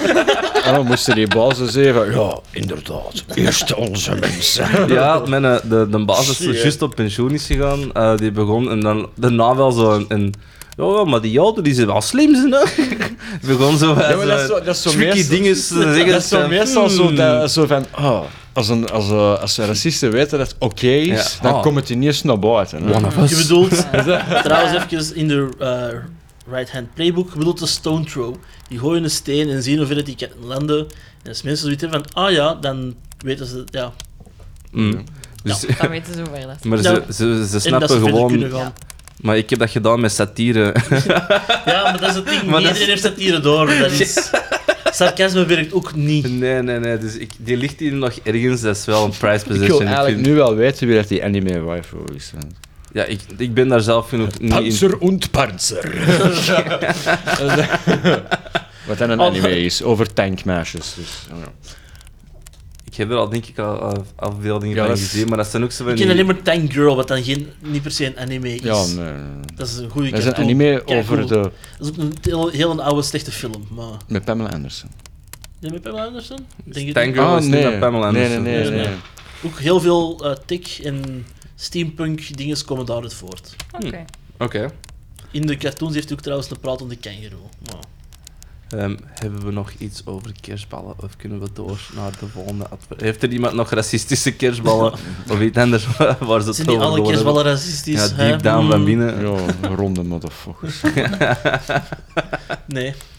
Oh, moesten die bazen zeggen van... Ja, inderdaad. Eerst onze mensen. Ja, mijn, eh, de, de baas is juist op pensioen is gegaan. eh, die begon en dan daarna wel zo een... een ja, ja, maar die ouder die zijn wel slim, zijn, hè? begon zo wat Ja, maar dat is zo- dat is zo tricky meestal- dingen te zeggen. Dat is zo van, meestal zo, hmm. dat, zo van... Oh, als, een, als, eh, als racisten weten dat het oké is, Ja. dan Oh. komt het ineens naar buiten. hè. One of us. Je bedoelt, trouwens even in de eh, right-hand playbook, je bedoelt de stone throw. Die gooien een steen en zien hoeveel dat die kan landen. En als mensen zoiets hebben van, ah ja, dan weten ze, ja. Hmm. Dus, Dan weten ze hoe ver dat is. Maar ze, Nou, ze, ze en dat ze snappen verder kunnen gewoon... gaan. Maar ik heb dat gedaan met satire. Ja, maar dat is het ding, Maar dat iedereen is- heeft dat hier door. Dat is... Sarcasme werkt ook niet. nee, nee, nee. Dus ik, die ligt hier nog ergens. Dat is wel een prize Ik position. wil Ik eigenlijk vind- nu wel weten wie dat die anime waifu is. hè. Ja, ik, ik ben daar zelf genoeg niet in. Panzer und Panzer. Wat dan een Oh. anime is, over tankmeisjes. Dus, ja. Ik heb er al, denk ik, al al afbeeldingen Ja, van dat is- gezien. Maar dat zijn ook zo van Ik ken die- alleen maar Tank Girl, wat dan geen, niet per se een anime is. ja, nee, nee, nee. Dat is een goede Dat is een cartoon. anime Kijk, over cool. de... Dat is ook een heel, heel een oude, slechte film, maar... Met Pamela Anderson. Ah, Ja, met Pamela Anderson? Denk het Tank niet. Girl is niet met Pamela Anderson. Nee, nee, nee. Nee, nee. nee. Ook heel veel eh tik en steampunk dingen komen daaruit voort. Oké. Oké. In de cartoons heeft hij ook trouwens een pratende kangaroo. Maar... Ehm, hebben we nog iets over kerstballen of kunnen we door naar de volgende adver- Heeft er iemand nog racistische kerstballen of iets anders waar ze het Zijn die over alle willen kerstballen hebben? racistisch? Ja, hè? diep down van Mm, binnen. Ja, ronde motherfuckers. Nee.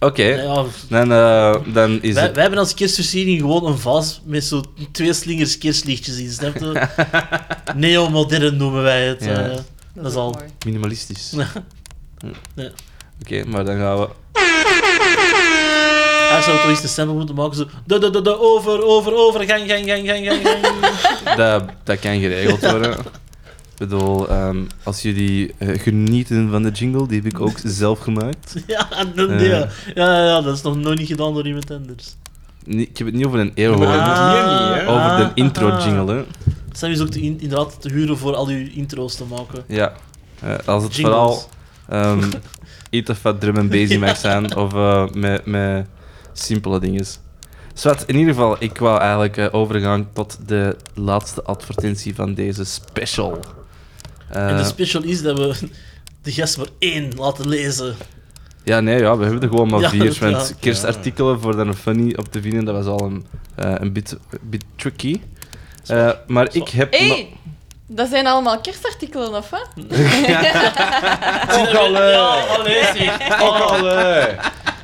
Oké, Nee, ja, dan, eh, dan is wij, het... wij hebben als kerstversiering gewoon een vals met zo'n twee slingers kerstlichtjes in, snap je? Neomodern noemen wij het. Ja. eh. Dat is ook al- mooi. Minimalistisch. Ja. Hm. Ja. Oké, maar dan gaan we... Hij zou toch eens een sample moeten maken, zo... De, de, de, de, over, over, over, gang, gang, gang, gang, gang, gang. Dat, dat kan geregeld worden. Ik bedoel, ehm, als jullie eh, genieten van de jingle, die heb ik ook zelf gemaakt. Ja, dat, Eh. ja. Ja, ja, ja, dat is nog nooit niet gedaan door iemand anders. Nee, ik heb het niet over een eeuw, hoor. hier niet, hè? over de ah, intro ah. jingle. Hè. Sam is ook te in- inderdaad te huren voor al uw intro's te maken. Ja, Eh, als het Jingles. vooral ehm iets of wat drum en bassy mag zijn, of eh, met, met simpele dingen. Zwat, in ieder geval, ik wou eigenlijk eh, overgaan tot de laatste advertentie van deze special. Eh, en de special is dat we de gast maar één laten lezen. ja, nee, ja, we hebben er gewoon maar Ja, vier. ja. Want kerstartikelen voor dan een funny op te vinden, dat was al een, eh, een bit, bit tricky. Eh, maar ik heb... Hé, nog- dat zijn allemaal kerstartikelen, of wat? Ook Oh, al, eh. Ja, allee, zeg. Ook al, eh.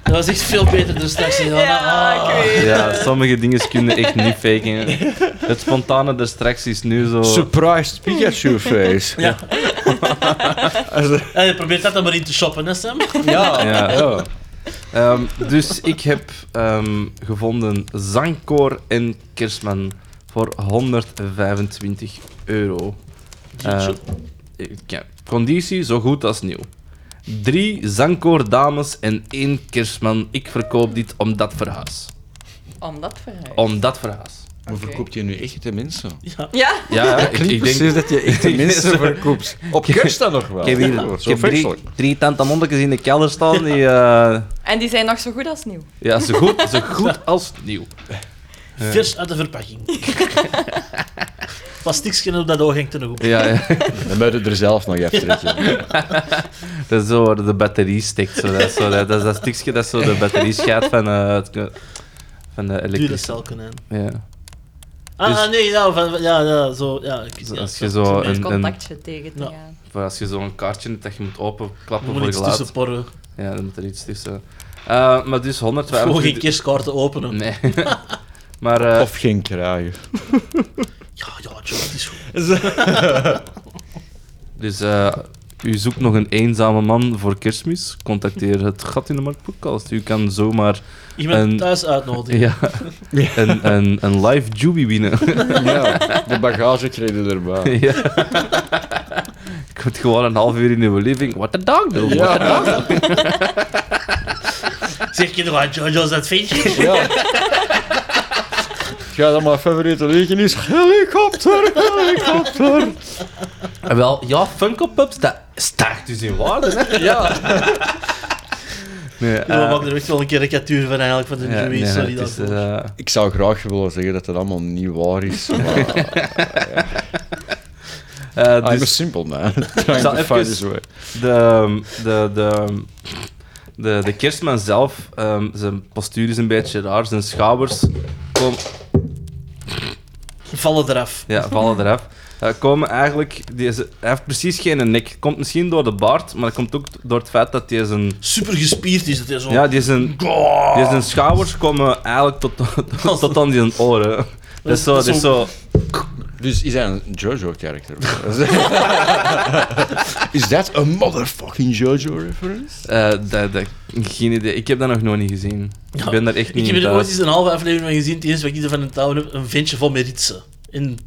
Dat was echt veel beter dan straks. Ja, ah. ik weet Ja, het. sommige dingen kunnen echt niet faken. Het spontane daar straks is nu zo... Surprised Pikachu face. Ja. Also, En Eh, je probeert dat dan maar in te shoppen, hè, Sam? Eh. ja. Ja. ja. Ehm, dus ik heb ehm, gevonden zangkoor en kerstman voor 125 euro. Eh, ja, conditie zo goed als nieuw. Drie zangkoordames en één kerstman. Ik verkoop dit om dat verhuis. Om dat verhaal. Om dat verhuis. Maar verkoopt je nu echte mensen? Ja. Ja, Ja, ik, Klinkt ik denk... precies dat je echte ik denk mensen zo- verkoopt. Op kerst dan nog wel. Ik heb hier Ja, ik zo heb drie, feestelijk. drie tantamonnetjes in de kelder staan die... eh, en die zijn nog zo goed als nieuw. ja, zo goed, zo goed als nieuw. Vers uit de verpakking. Plastiekje op dat ooghangt er nog op. Ja, ja. Dan moet je er zelf nog even trekken. Dat is zo waar de batterie stikt. Zo. Dat, is zo, dat, dat is dat stukje dat zo de batterie schaadt van, eh, het- van de Dure elektrische. celken, hè. Ja. Ah, Dus- ah, nee, ja, van, ja, ja, zo, ja. ik- Zo, ja, als ik je snap zo het. een- Een contactje tegen te Ja. gaan. Voor als je zo'n kaartje hebt dat je moet Er openklappen moet voor iets geluid. tussen porren. Ja, dan moet er iets tussen. Eh, maar dus Gewoon geen 125... kerstkaarten openen. Nee. maar eh, Of geen kraaien. Ja, ja, Joe, het is goed. Dus eh, u zoekt nog een eenzame man voor kerstmis? Contacteer het Gat in de Markt podcast. U kan zomaar Iemand En- thuis uitnodigen. ja, een, een, een live jubie winnen. Ja, de bagage kreeg je erbij. ja. Ik word gewoon een half uur in uw living. What the dog doe? Ja. Zeg je nog aan JoJo's Adventure? Ja. Ga dat mijn favoriete liedje is helikopter, helikopter. En wel, ja, Funko Pups, dat stijgt dus in waarde. Hè? Ja. Nee, Ja, we eh, maken er echt wel een karikatuur van eigenlijk, van de ja, Joey, nee, sorry het is, daarvoor. eh, Ik zou graag willen zeggen dat het allemaal niet waar is. Maar eh, I'm a dus- simple man. Trying to even- find his way. de, ehm, de, de, de, de kerstman zelf, ehm, zijn postuur is een beetje raar. Zijn schouders kom, Vallen eraf. ja, vallen eraf. Eh, komen eigenlijk, die is- hij heeft precies geen nek. Komt misschien door de baard, maar dat komt ook door het feit dat hij zijn, Super gespierd is het, hè, zo. ja, die zijn, die zijn schouders komen eigenlijk tot, tot, tot aan die oren. Dat is zo, dat is zo Dus is hij een JoJo-character? is dat een motherfucking JoJo-reference? eh, dat, dat, geen idee. Ik heb dat nog nooit niet gezien. Ik Ja, ben daar echt Ik niet heb in er thuis. ooit eens een halve aflevering van gezien. Het eerste wat ik ervan in touw heb, een ventje vol met ritsen. En...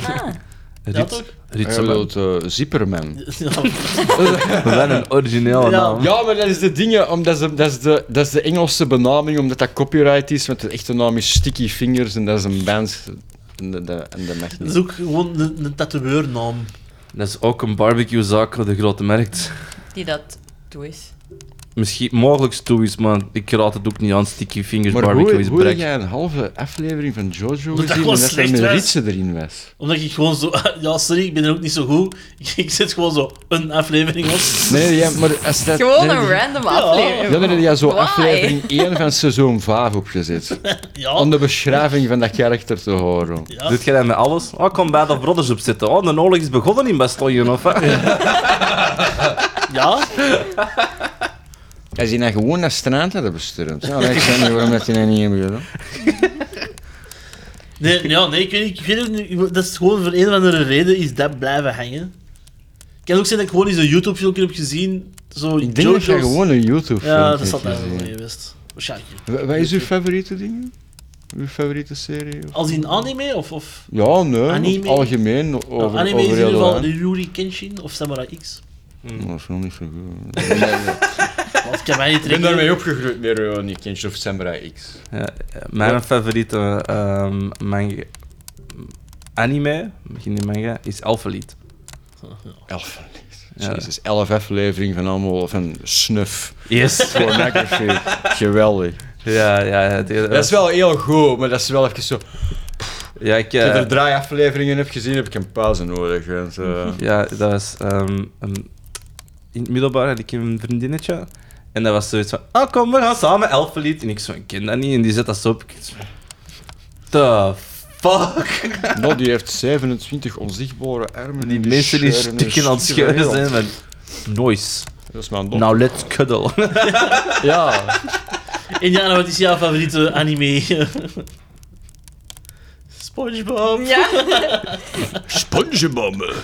Ja, Rits- toch? Hij Ritseman. bedoelt eh, Zipperman. Wat een originele Ja. naam. Ja, maar dat is de dingen, omdat ze, dat, is de, dat is de Engelse benaming, omdat dat copyright is, want de echte naam is Sticky Fingers en dat is een band. En dat- dat- en dat mag Dat niet. is ook gewoon een, een tatoeëurnaam. Dat is ook een barbecuezaak op de grote markt. die dat toe is. Misschien mogelijk toe is, maar ik raad het ook niet aan. Sticky Fingers Maar Barbecue hoe, is hoe heb brek. jij een halve aflevering van JoJo dat gezien en gewoon dat er slecht met was. ritsen erin was? Omdat ik gewoon zo... Ja, sorry, ik ben er ook niet zo goed. Ik, ik zet gewoon zo een aflevering op. Nee, ja, maar als dat... Gewoon dan- een random Ja, aflevering. Dan heb je zo Why? aflevering 1 van seizoen 5 opgezet. Om Ja, de beschrijving van dat karakter te horen. ja. Doet jij dat met alles? Oh, ik kom bij de brothers op zitten. Oh, de oorlog is begonnen in Bastogne, of wat? ja. Als je nou gewoon naar straat hadden besturmd. Ja, ik snap niet waarom dat je dat niet hebt gedaan. Nee, ja, nee, ik weet, niet- ik weet ook niet. Dat is gewoon voor een of andere reden is dat blijven hangen. Het kan ook zijn dat ik gewoon eens een YouTube-filmpje heb gezien. Zo Ik denk dat je JoJo's. gewoon een youtube Ja, dat filmpje zat hebt daar wel gezien. mee geweest. Waarschijnlijk. Wa- Wat is uw favoriete ding? Uw favoriete serie? of- Als in anime of... of Ja, nee. Anime? Nou, Algemeen, o- over, anime is in over ieder heel geval Holland. Rurouni Kenshin of Samurai X. Dat is nog niet zo goed. Wat kan mij niet trekken. opgegroeid met Ronnie Kenshin of Samurai X. Ja, mijn favoriete ehm, manga, anime, misschien niet manga, is Alpha Lead. Elf. Ja. Jezus, elf afleveringen van allemaal van snuf. Yes. Pornography. Geweldig. ja, ja, ja, het- Dat is wel heel goed, maar dat is wel even zo... Ja, ik... Als eh, je er drie afleveringen hebt gezien, heb ik een pauze nodig. want, eh, Ja, dat was ehm, een- in het middelbaar had ik een vriendinnetje. En dat was zoiets van, ah kom, we gaan samen elfen lied. En ik zo, ik ken dat niet. En die zet dat zo op. Ik zo, The fuck? Nou, die heeft 27 onzichtbare armen. Die mensen die scheuren en stikken aan het scheuren zijn van, noise. Dat is mijn dom. Now let's cuddle. Ja. En Jana, wat is jouw favoriete anime? Spongebob. Ja, Spongebob.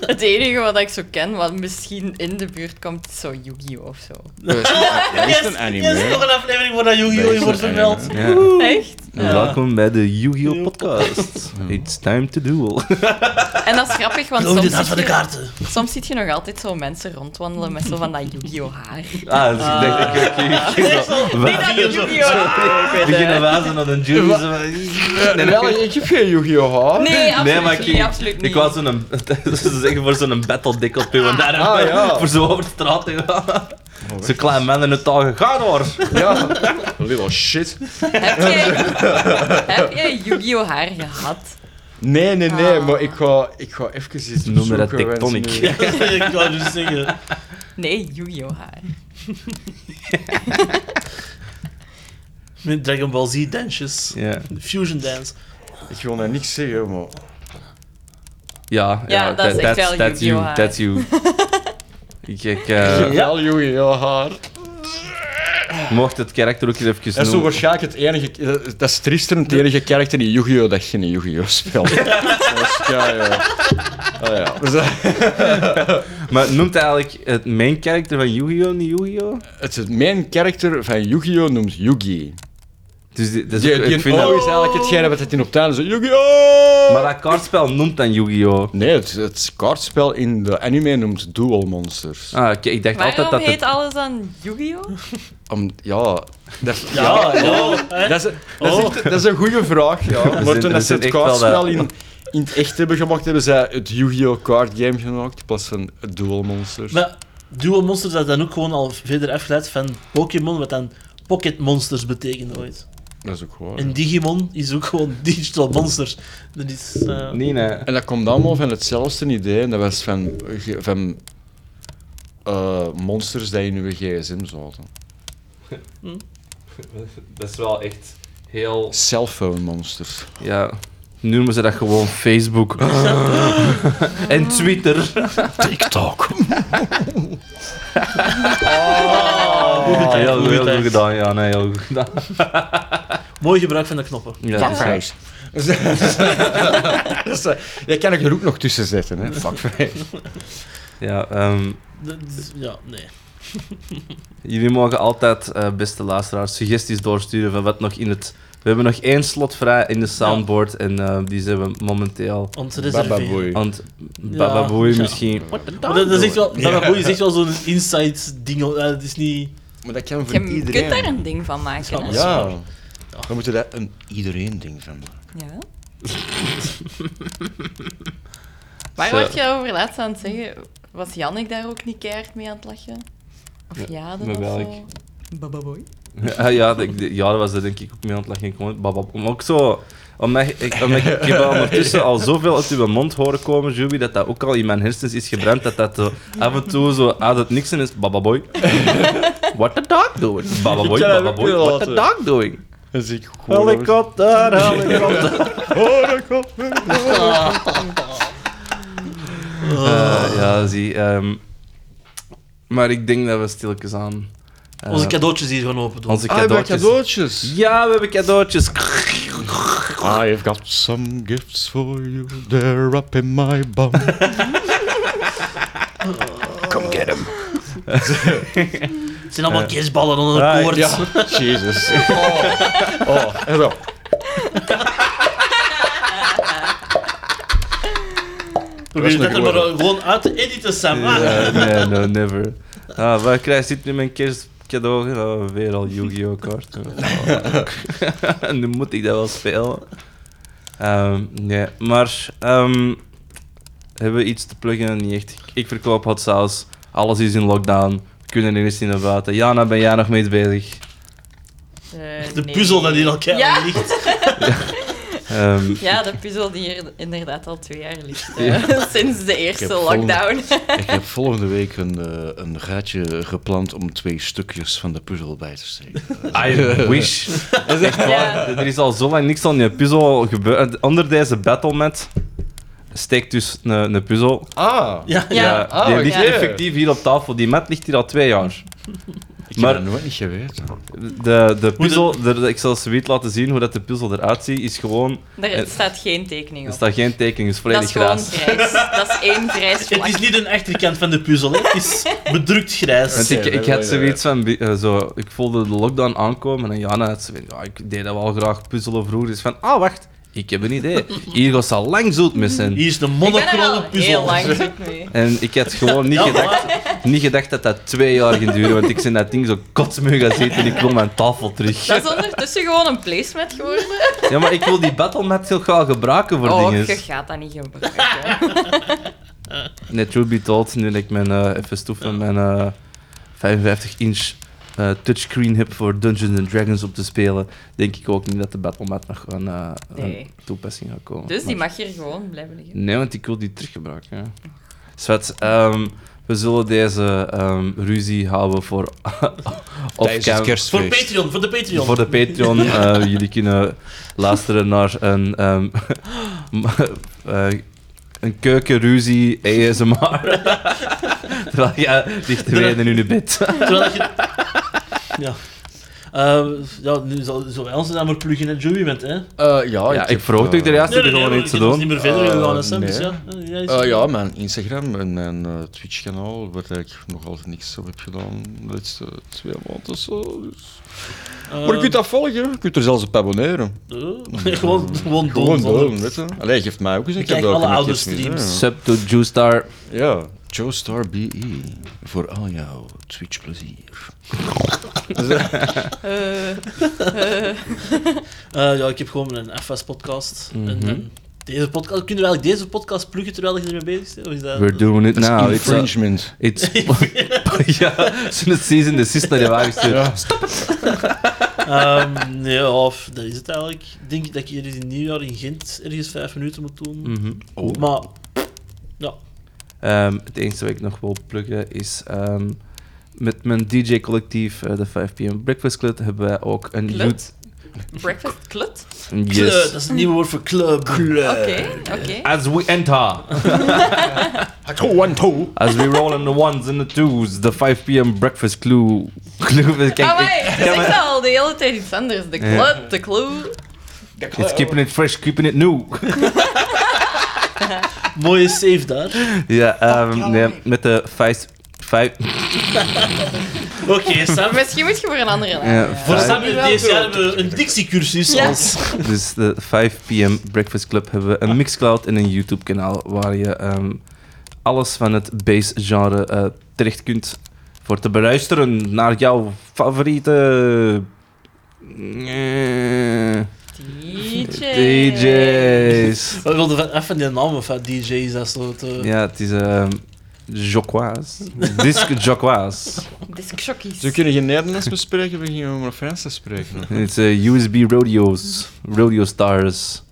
het enige wat ik zo ken, wat misschien in de buurt komt, is zo Yu-Gi-Oh! of zo. Dat is een Ja, er is nog anime. een aflevering waar dat Yu-Gi-Oh! Nee, in wordt dat is vermeld. Ja. Echt? Ja. Welkom bij de Yu-Gi-Oh! Ah, dus podcast. It's time to duel. En dat is grappig, want Geloof soms dit hart van zie, de je, kaarten. soms zie je nog altijd zo mensen rondwandelen met zo van dat Yu-Gi-Oh! haar. Ah, dus ik denk, ik- ik- ik- ik- Nee, dat is Yu-Gi-Oh! ik beginnen wijzen naar de jury. zo van- Nee, wel, ik heb geen Yu-Gi-Oh! haar. Nee, absoluut Nee, maar ik, niet, absoluut niet. ik was zo'n, ze zeggen voor zo'n battle dik op en daar Ah, ja. voor zo over de straat te gaan. Zo'n klein man in het touw, ga door! Ja. Little shit. Heb jij, heb jij Yu-Gi-Oh! haar gehad? Nee, nee, nee, maar ik ga, ik ga even iets Ah. Noem maar dat zoeken, want tectonic. nu- ik wou dus zeggen. Nee, Yu-Gi-Oh! haar. Met Dragon Ball Z dansjes. Ja, Fusion dance. Ik wil nou niks zeggen, maar... ja, Ja, dat is that- echt that's- wel that's Yu-Gi-Oh! you, that's you. ik, ik, eh, Wel Yu-Gi-Oh! haar. Mocht het karakter ook hier even Dat is zo noemen. waarschijnlijk het enige... eh, Dat is triester het enige karakter in Yu-Gi-Oh! dat je in Yu-Gi-Oh! speelt. dat is kei, eh. Ah, ja. Dus, eh, Maar noemt hij eigenlijk het main character van Yu-Gi-Oh! niet Yu-Gi-Oh! het, het main karakter van Yu-Gi-Oh! noemt Yugi. Dus die- dat is Die, ook- die ik vind oh dat- is eigenlijk hetgene wat het in op tuin is. Yu-Gi-Oh! Maar dat kaartspel noemt dan Yu-Gi-Oh! Nee, het, het kaartspel in de anime noemt Duel Monsters. Ah, oké, ik dacht altijd Waarom dat heet het... alles dan Yu-Gi-Oh? Om- ja, dat, Ja, ja. hè. dat, is, dat, is echt- dat is een goede vraag. Ja. Maar zijn- toen er dat ze zijn het echt wel kaartspel de- in, in het echt hebben gemaakt, hebben zij het Yu-Gi-Oh! card game gemaakt in plaats van het Duel Monsters. Maar Duo Monsters dat is dan ook gewoon al verder afgeleid van Pokémon, wat dan Pocket Monsters betekende ooit. Dat is ook waar. En Digimon is ook gewoon Digital Monsters. Dat is... eh, Nee, nee. En dat komt allemaal van hetzelfde idee. En dat was van, ge- van eh, monsters die in uw gsm zaten. Dat is wel echt heel... Cellphone monsters. Ja. Nu noemen ze dat gewoon Facebook. en Twitter. Ah, TikTok. goed gedaan, heel goed goed, heel gedaan. goed gedaan, ja. Nee, heel goed gedaan. Mooi gebruik van de knoppen. Ja. Fuckface. Dat is, eh, Jij kan ik er ook nog tussen zetten, hè? Fuckface. Ja, ehm, Dat is- ja, nee. jullie mogen altijd, eh, beste luisteraars, suggesties doorsturen van wat nog in het... We hebben nog één slot vrij in de soundboard en eh, die zijn we momenteel Om te reserveren. Bababoei. aan het bababoei ja. misschien. Maar Dat, dat is echt wel, Bababoei is echt wel zo'n inside ding. eh, Het is niet... Maar dat kan voor Je iedereen. kunt daar een ding van maken. Hè? ja. We moeten daar een iedereen ding van maken. Ja. Waar Zo. word je over laatst aan het zeggen? Was Jannik daar ook niet keihard mee aan het lachen? Of Ja, ja, dan met of welk? zo? Bababoy. Ja, Ah, ja, dat ik- ja, daar was er denk ik ook mee aan het lachen. Ik kon- babab- Maar ook zo... Omdat ik, ik- omdat ik, ik heb ondertussen al zoveel uit uw mond horen komen, Juby, dat dat ook al in mijn hersens is gebrand, dat dat zo af en toe zo uit het niks en is bababoy. What the dog doing? Bababoy, Ja, dat heb ik bababoy, wel what the laten. dog doing? Dat zie ik gewoon. Helikopter, helikopter. Eh, ja, zie. ehm, maar ik denk dat we stilletjes aan... eh, Onze cadeautjes hier gewoon open doen. onze Ah, bij cadeautjes. cadeautjes. Ja, we hebben cadeautjes. I've got some gifts for you. They're up in my bum. Come get them. Het zijn allemaal kerstballen onder het koord. Ja, Jesus. Oh, oh. en zo. Probeer Dat dat is een er maar geworden. gewoon uit te editen, Sam. Ah. Ja, nee, no, never. Ah, waar krijg zit nu mijn kerstcadeau? Oh, weer al Yu-Gi-Oh! kaarten. Oh. nu moet ik dat wel spelen. Ehm, nee, maar ehm, hebben we iets te pluggen? Niet echt. Ik- Ik verkoop hot sauce. Alles is in lockdown. We kunnen er eens in naar buiten. Jana, ben jij nog mee bezig? Ah, Eh, De puzzel dat in elkaar Ja. ligt. Ehm, Ja, de puzzel die hier inderdaad al twee jaar ligt. hè. Ja. Sinds de eerste Ik heb vol- lockdown. Ik heb volgende week een, eh, een gaatje gepland om twee stukjes van de puzzel bij te steken. I wish. Dat is echt waar. Ja. Er is al zo lang niks aan je puzzel gebeurd. Onder deze battle met steekt dus een, een puzzel. Ah. Ja, Ja. Ja, Ah, die oké. ligt effectief hier op tafel. Die mat ligt hier al twee jaar. Ik Maar- heb dat nooit niet geweten. De, de puzzel, de- ik zal ze weet laten zien hoe dat de puzzel eruit ziet, is gewoon... Er staat geen tekening Eh, Er op. staat geen tekening, het is dat volledig is gewoon grijs. grijs. Dat is één grijs Het vlak. is niet een achterkant van de puzzel, hè. het is bedrukt grijs. Want ik, Ja, ik dat had wil je. zoiets van, eh, zo, ik voelde de lockdown aankomen en Jana had zoiets van, ja, ik deed dat wel graag, puzzelen vroeger. Dus van, ah, wacht, ik heb een idee. Hier gaat ze al lang zoet mee zijn. Hier is de Ik ben er al monochrome heel puzzel. lang zoek mee. En ik had gewoon niet Ja, gedacht... maar- Niet gedacht dat dat twee jaar ging duren, want ik zit in dat ding zo kotsmeu gaan zitten en ik wil mijn tafel terug. Dat is ondertussen gewoon een placemat geworden. Ja, maar ik wil die battlemat heel graag gebruiken voor Oh, je dingen. gaat dat niet gebruiken. Net Truth Be Told, nu dat ik mijn, eh even stoef van mijn eh, 55-inch eh, touchscreen heb voor Dungeons and Dragons op te spelen, denk ik ook niet dat de battlemat nog een, eh, Nee. een toepassing gaat komen. Dus die Maar- mag hier gewoon blijven liggen. Nee, want ik wil die teruggebruiken. ja. Zwet, ehm, we zullen deze ehm, ruzie houden voor... op Tijdens het cam- Voor kerstfeest. Patreon, voor de Patreon. Voor de Patreon, eh, jullie kunnen luisteren naar een, ehm eh, een keukenruzie ASMR. Terwijl jij ligt te eh, wenen in je bed. Terwijl dat je... Ja. Eh, ja, nu zal, zullen wij ons dan maar pluggen en Joey bent, hè? Nee, Eh, ja, Ja, ik heb, vroeg eh, toch de rest er gewoon maar iets te het is doen. niet meer verder Eh, gegaan, hè, Sam, nee. dus ja. Eh, jij is- eh, ja, mijn Instagram en mijn eh, Twitch-kanaal, waar ik nog altijd niks op heb gedaan de laatste twee maanden. of Zo. Dus- Eh, maar je kunt dat volgen, je kunt er zelfs op abonneren. eh, gewoon, gewoon Gewoon doen. doen, weet je. Allee, geeft mij ook eens. Ik heb Bekijk daar ook alle een oude keer gezien, streams. Sub to Juice Star. Ja. ja. Joe Star BE, voor al jouw Twitch-plezier. Eh, Eh, ja, ik heb gewoon een FS-podcast. Mhm. deze podcast, kunnen we eigenlijk deze podcast pluggen terwijl je ermee bezig bent? Of is dat... We're doing it Nou, now. It's, a- infringement. it's ja, zo'n season de sist naar je wagen gestuurd. Ehm, nee, ja, of, dat is het eigenlijk. Ik denk dat ik hier in nieuwjaar in Gent ergens vijf minuten moet doen. Mhm. Mm. Maar, Oh. ja. Ehm, het enige wat ik nog wil pluggen is... ehm, met mijn DJ-collectief, eh, de 5pm Breakfast Club, hebben wij ook een... Klut? breakfast klut? YouTube- Club, Yes. dat is het nieuwe woord voor club. Eh, Oké, oké. As we enter, as we roll in the ones and the twos, the 5 p.m. breakfast clue. clue kijk, Ah, ik- wait, je zegt al de hele tijd iets anders. De Ja. klut, de clue. it's keeping it fresh, keeping it new. Mooie save daar. ja, ehm, nee, met de 5... 5 Oké, Sam. Misschien moet je voor een andere naam. Ja, ja. Voor Ja. Sam in deze jaar hebben we een dictiecursus. Ja. Als... Dus de 5 p.m. Breakfast Club hebben we een Mixcloud en een YouTube-kanaal waar je ehm, alles van het bass-genre eh, terecht kunt voor te beluisteren naar jouw favoriete... eh, DJ. DJ's. We wilden van, even die naam van DJ's, dat soort... eh, Ja, het is ehm Jocquoise. Disc Jocquoise. Discjockeys. Ze kunnen geen Nederlands bespreken, we gingen maar Frans te spreken. En Het is eh, USB Rodeos. Rodeo Stars.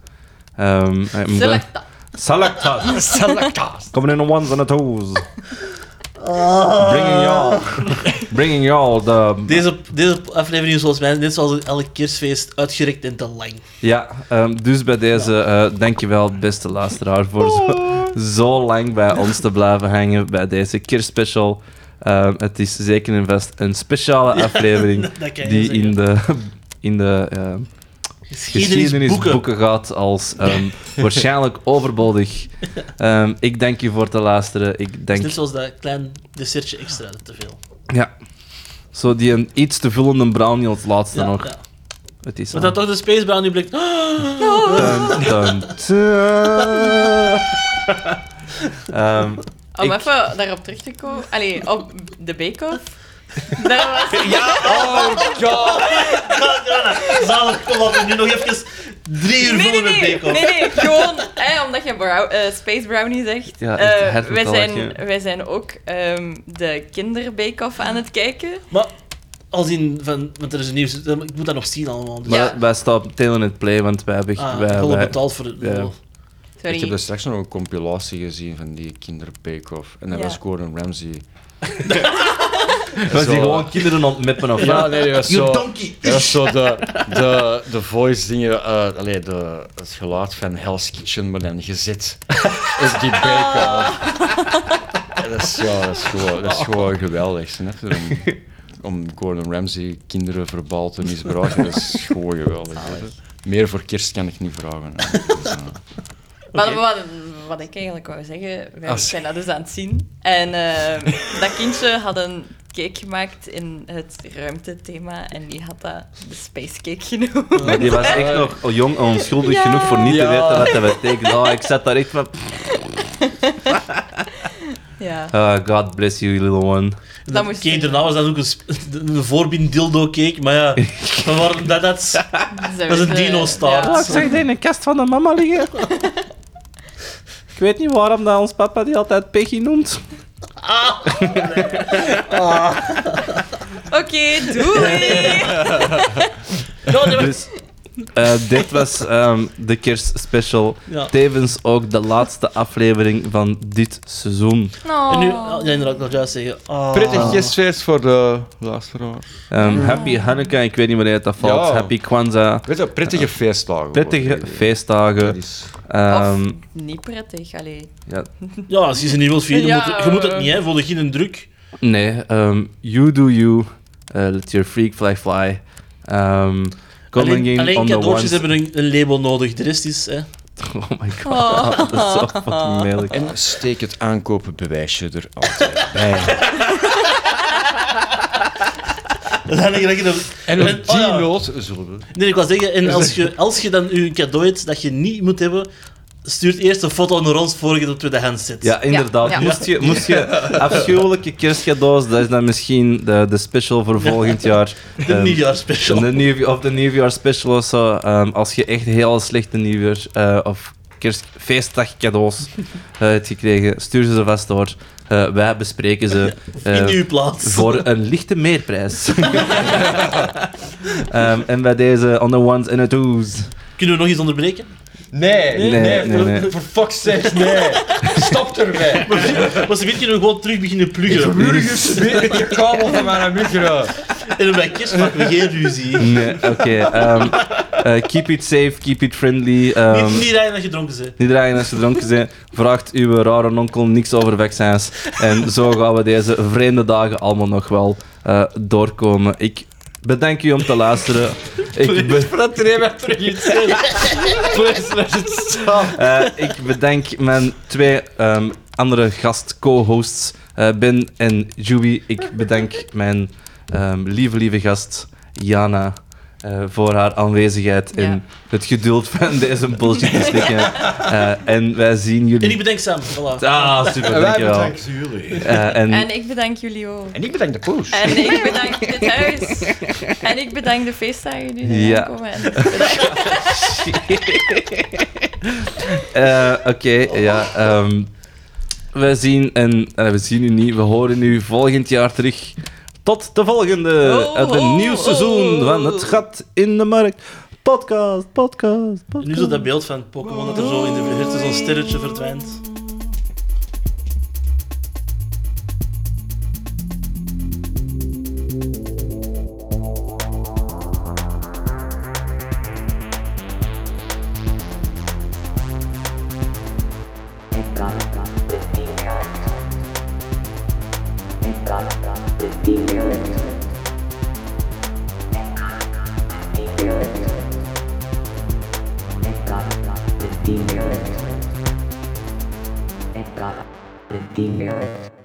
Um, Selecta. Selectas. Coming in the ones and the twos. Bringing y'all. Bringing y'all the... Deze, deze aflevering is volgens mij net zoals elk kerstfeest uitgerekt en te lang. Ja, ehm, dus bij deze eh dankjewel beste luisteraar voor zo, zo lang bij ons te blijven hangen bij deze kerstspecial. Ehm, het is zeker en vast een speciale aflevering. Dat kan je die zeggen. in de, in de ehm, geschiedenisboeken geschiedenisboeken. gaat als ehm, waarschijnlijk overbodig. Ehm, ik dank u voor het luisteren. Ik Het is dank net zoals dat klein dessertje extra, dat te veel. ja. Zo die een iets te vullende brownie als laatste Ja, nog. ja. Het is Maar dat al- toch de Space Brown nu blijkt... Dun, dun, dun. Ehm, Om Ik- even daarop terug te komen. Allee, op de bake-off. Daar was... Zalig, kom op, nu nog even drie uur Nee, nee, voor de nee, bacon. nee, nee, gewoon hè, omdat je brou- eh, Space Brownie zegt. Ja, echt, Eh, het wordt wij, al zijn, echt, ja. wij zijn ook ehm, de kinderbake-off aan het kijken. Maar als in van... Want er is een nieuws... Ik moet dat nog zien allemaal. Dus, maar Ja. wij staan meteen in het play, want wij hebben... ah, ik wij, heb al wij- betaald voor het... ja. Sorry. Ik heb daar straks nog een compilatie gezien van die kinderbake-off. En dat Ja. was Gordon Ramsay. wij zijn Zo. gewoon kinderen ontmeppen of wat? Ja, nee, dat was zo... Dat was zo de, de, de voice dingen... eh, allee, de, het geluid van Hell's Kitchen, maar dan gezet. is die bake-off. Dat, is, ja, dat, is gewoon, dat is gewoon geweldig, snap je? Om, om Gordon Ramsay kinderen verbaal te misbruiken, dat is gewoon geweldig. weet je. Meer voor kerst kan ik niet vragen. Dus, eh. Maar wat, wat ik eigenlijk wou zeggen, wij Als- zijn dat dus aan het zien. En ehm, dat kindje had een cake gemaakt in het ruimtethema en die had dat de space cake genoemd. Maar die was echt nog jong en onschuldig Ja. genoeg voor niet Ja. te weten wat dat betekent. Oh, ik zat daar echt van... Ja. Ah, God bless you, little one. Dat moest Kijk, daarna was dat ook een, sp- een voorbind dildo cake, maar ja, we waren dat, dat Ze Dat is een weten- dino-staart. eh, ja. ik zag die in de kast van de mama liggen. Ik weet niet waarom dat ons papa die altijd Peggy noemt. Oké, doei! Dus eh, dit was ehm, de kerstspecial. Ja. Tevens ook de laatste aflevering van dit seizoen. No. En nu, oh, ja, inderdaad, ik nog juist zeggen. ah. Prettig kerstfeest voor de luisteraars. Ehm, Happy Hanukkah, ik weet niet wanneer dat valt. Ja. Oh, Happy Kwanzaa. Weet je, prettige feestdagen. Prettige hoor. Dat feestdagen. is- Ehm, Of niet prettig, allee. ja, Ja, als je ze niet wilt vieren, Ja, moet, je moet het eh. niet, hè, voel je geen druk. Nee, ehm, you do you. Eh, let your freak fly fly. Ehm Alleen, Conlanging alleen on the cadeautjes ones- hebben een, een label nodig. De rest is... Hè. Oh my god, dat is zo fucking lelijk. En steek het aankopenbewijsje er altijd. Dat is eigenlijk dat je dat- En op En- die oh ja. noot zullen we... Nee, ik wou zeggen, en als je, als je dan je een cadeau hebt dat je niet moet hebben, stuurt eerst een foto naar ons voor je het op tweedehands zet. Ja, inderdaad. ja. Moest je, moest je afschuwelijke kerstcadeaus, dat is dan misschien de, de special voor volgend jaar. De Ehm, nieuwjaarspecial. De nieuw, of de nieuwjaarsspecial of zo. Ehm, als je echt heel slechte nieuwjaars- eh, of kerst, feestdag cadeaus eh, hebt gekregen, stuur ze ze vast door. Eh, wij bespreken ze. in eh, uw plaats. voor een lichte meerprijs. Ehm, en bij deze on the ones and the twos. Kunnen we nog iets onderbreken? Nee, Nee, nee, nee, nee. for fuck's sake, nee. Stop ermee. Maar ze weten kunnen we gewoon terug beginnen pluggen. Burgers, de kabel van mijn micro. En bij kerst maken we geen ruzie. Nee, oké. ehm, eh, keep it safe, keep it friendly. ehm, niet, niet rijden dat je dronken bent. Niet dragen als je dronken bent. Vraagt uw rare onkel niks over vaccins. En zo gaan we deze vreemde dagen allemaal nog wel eh, doorkomen. Ik bedank u om te luisteren. Ik, be- Dat er even terug iets in. Please let it stop. eh, ik bedank mijn twee ehm, andere gast-co-hosts, eh, Ben en Juby. Ik bedank mijn ehm, lieve, lieve gast Jana. eh, voor haar aanwezigheid Ja. en het geduld van deze bullshit te slikken. Eh, en wij zien jullie. En ik bedenk Sam. Voilà. Ah, super, En wij dankjewel. bedanken jullie. Eh, en, En ik bedank jullie ook. En ik bedank de poes. En ik bedank dit huis. En ik bedank de feestdagen die nu Ja. aankomen. En ik bedank- Eh, Oké, ja. ehm, we zien en eh, we zien u niet. We horen u volgend jaar terug. Tot de volgende. Oh, het oh, nieuw seizoen oh. van Het Gat in de Markt. Podcast, podcast, En podcast. nu zo dat beeld van Pokémon dat er zo in de verte zo'n sterretje verdwijnt. You've got this derelict. You've got this derelict. You've got this derelict. You've got this derelict. You've got this derelict.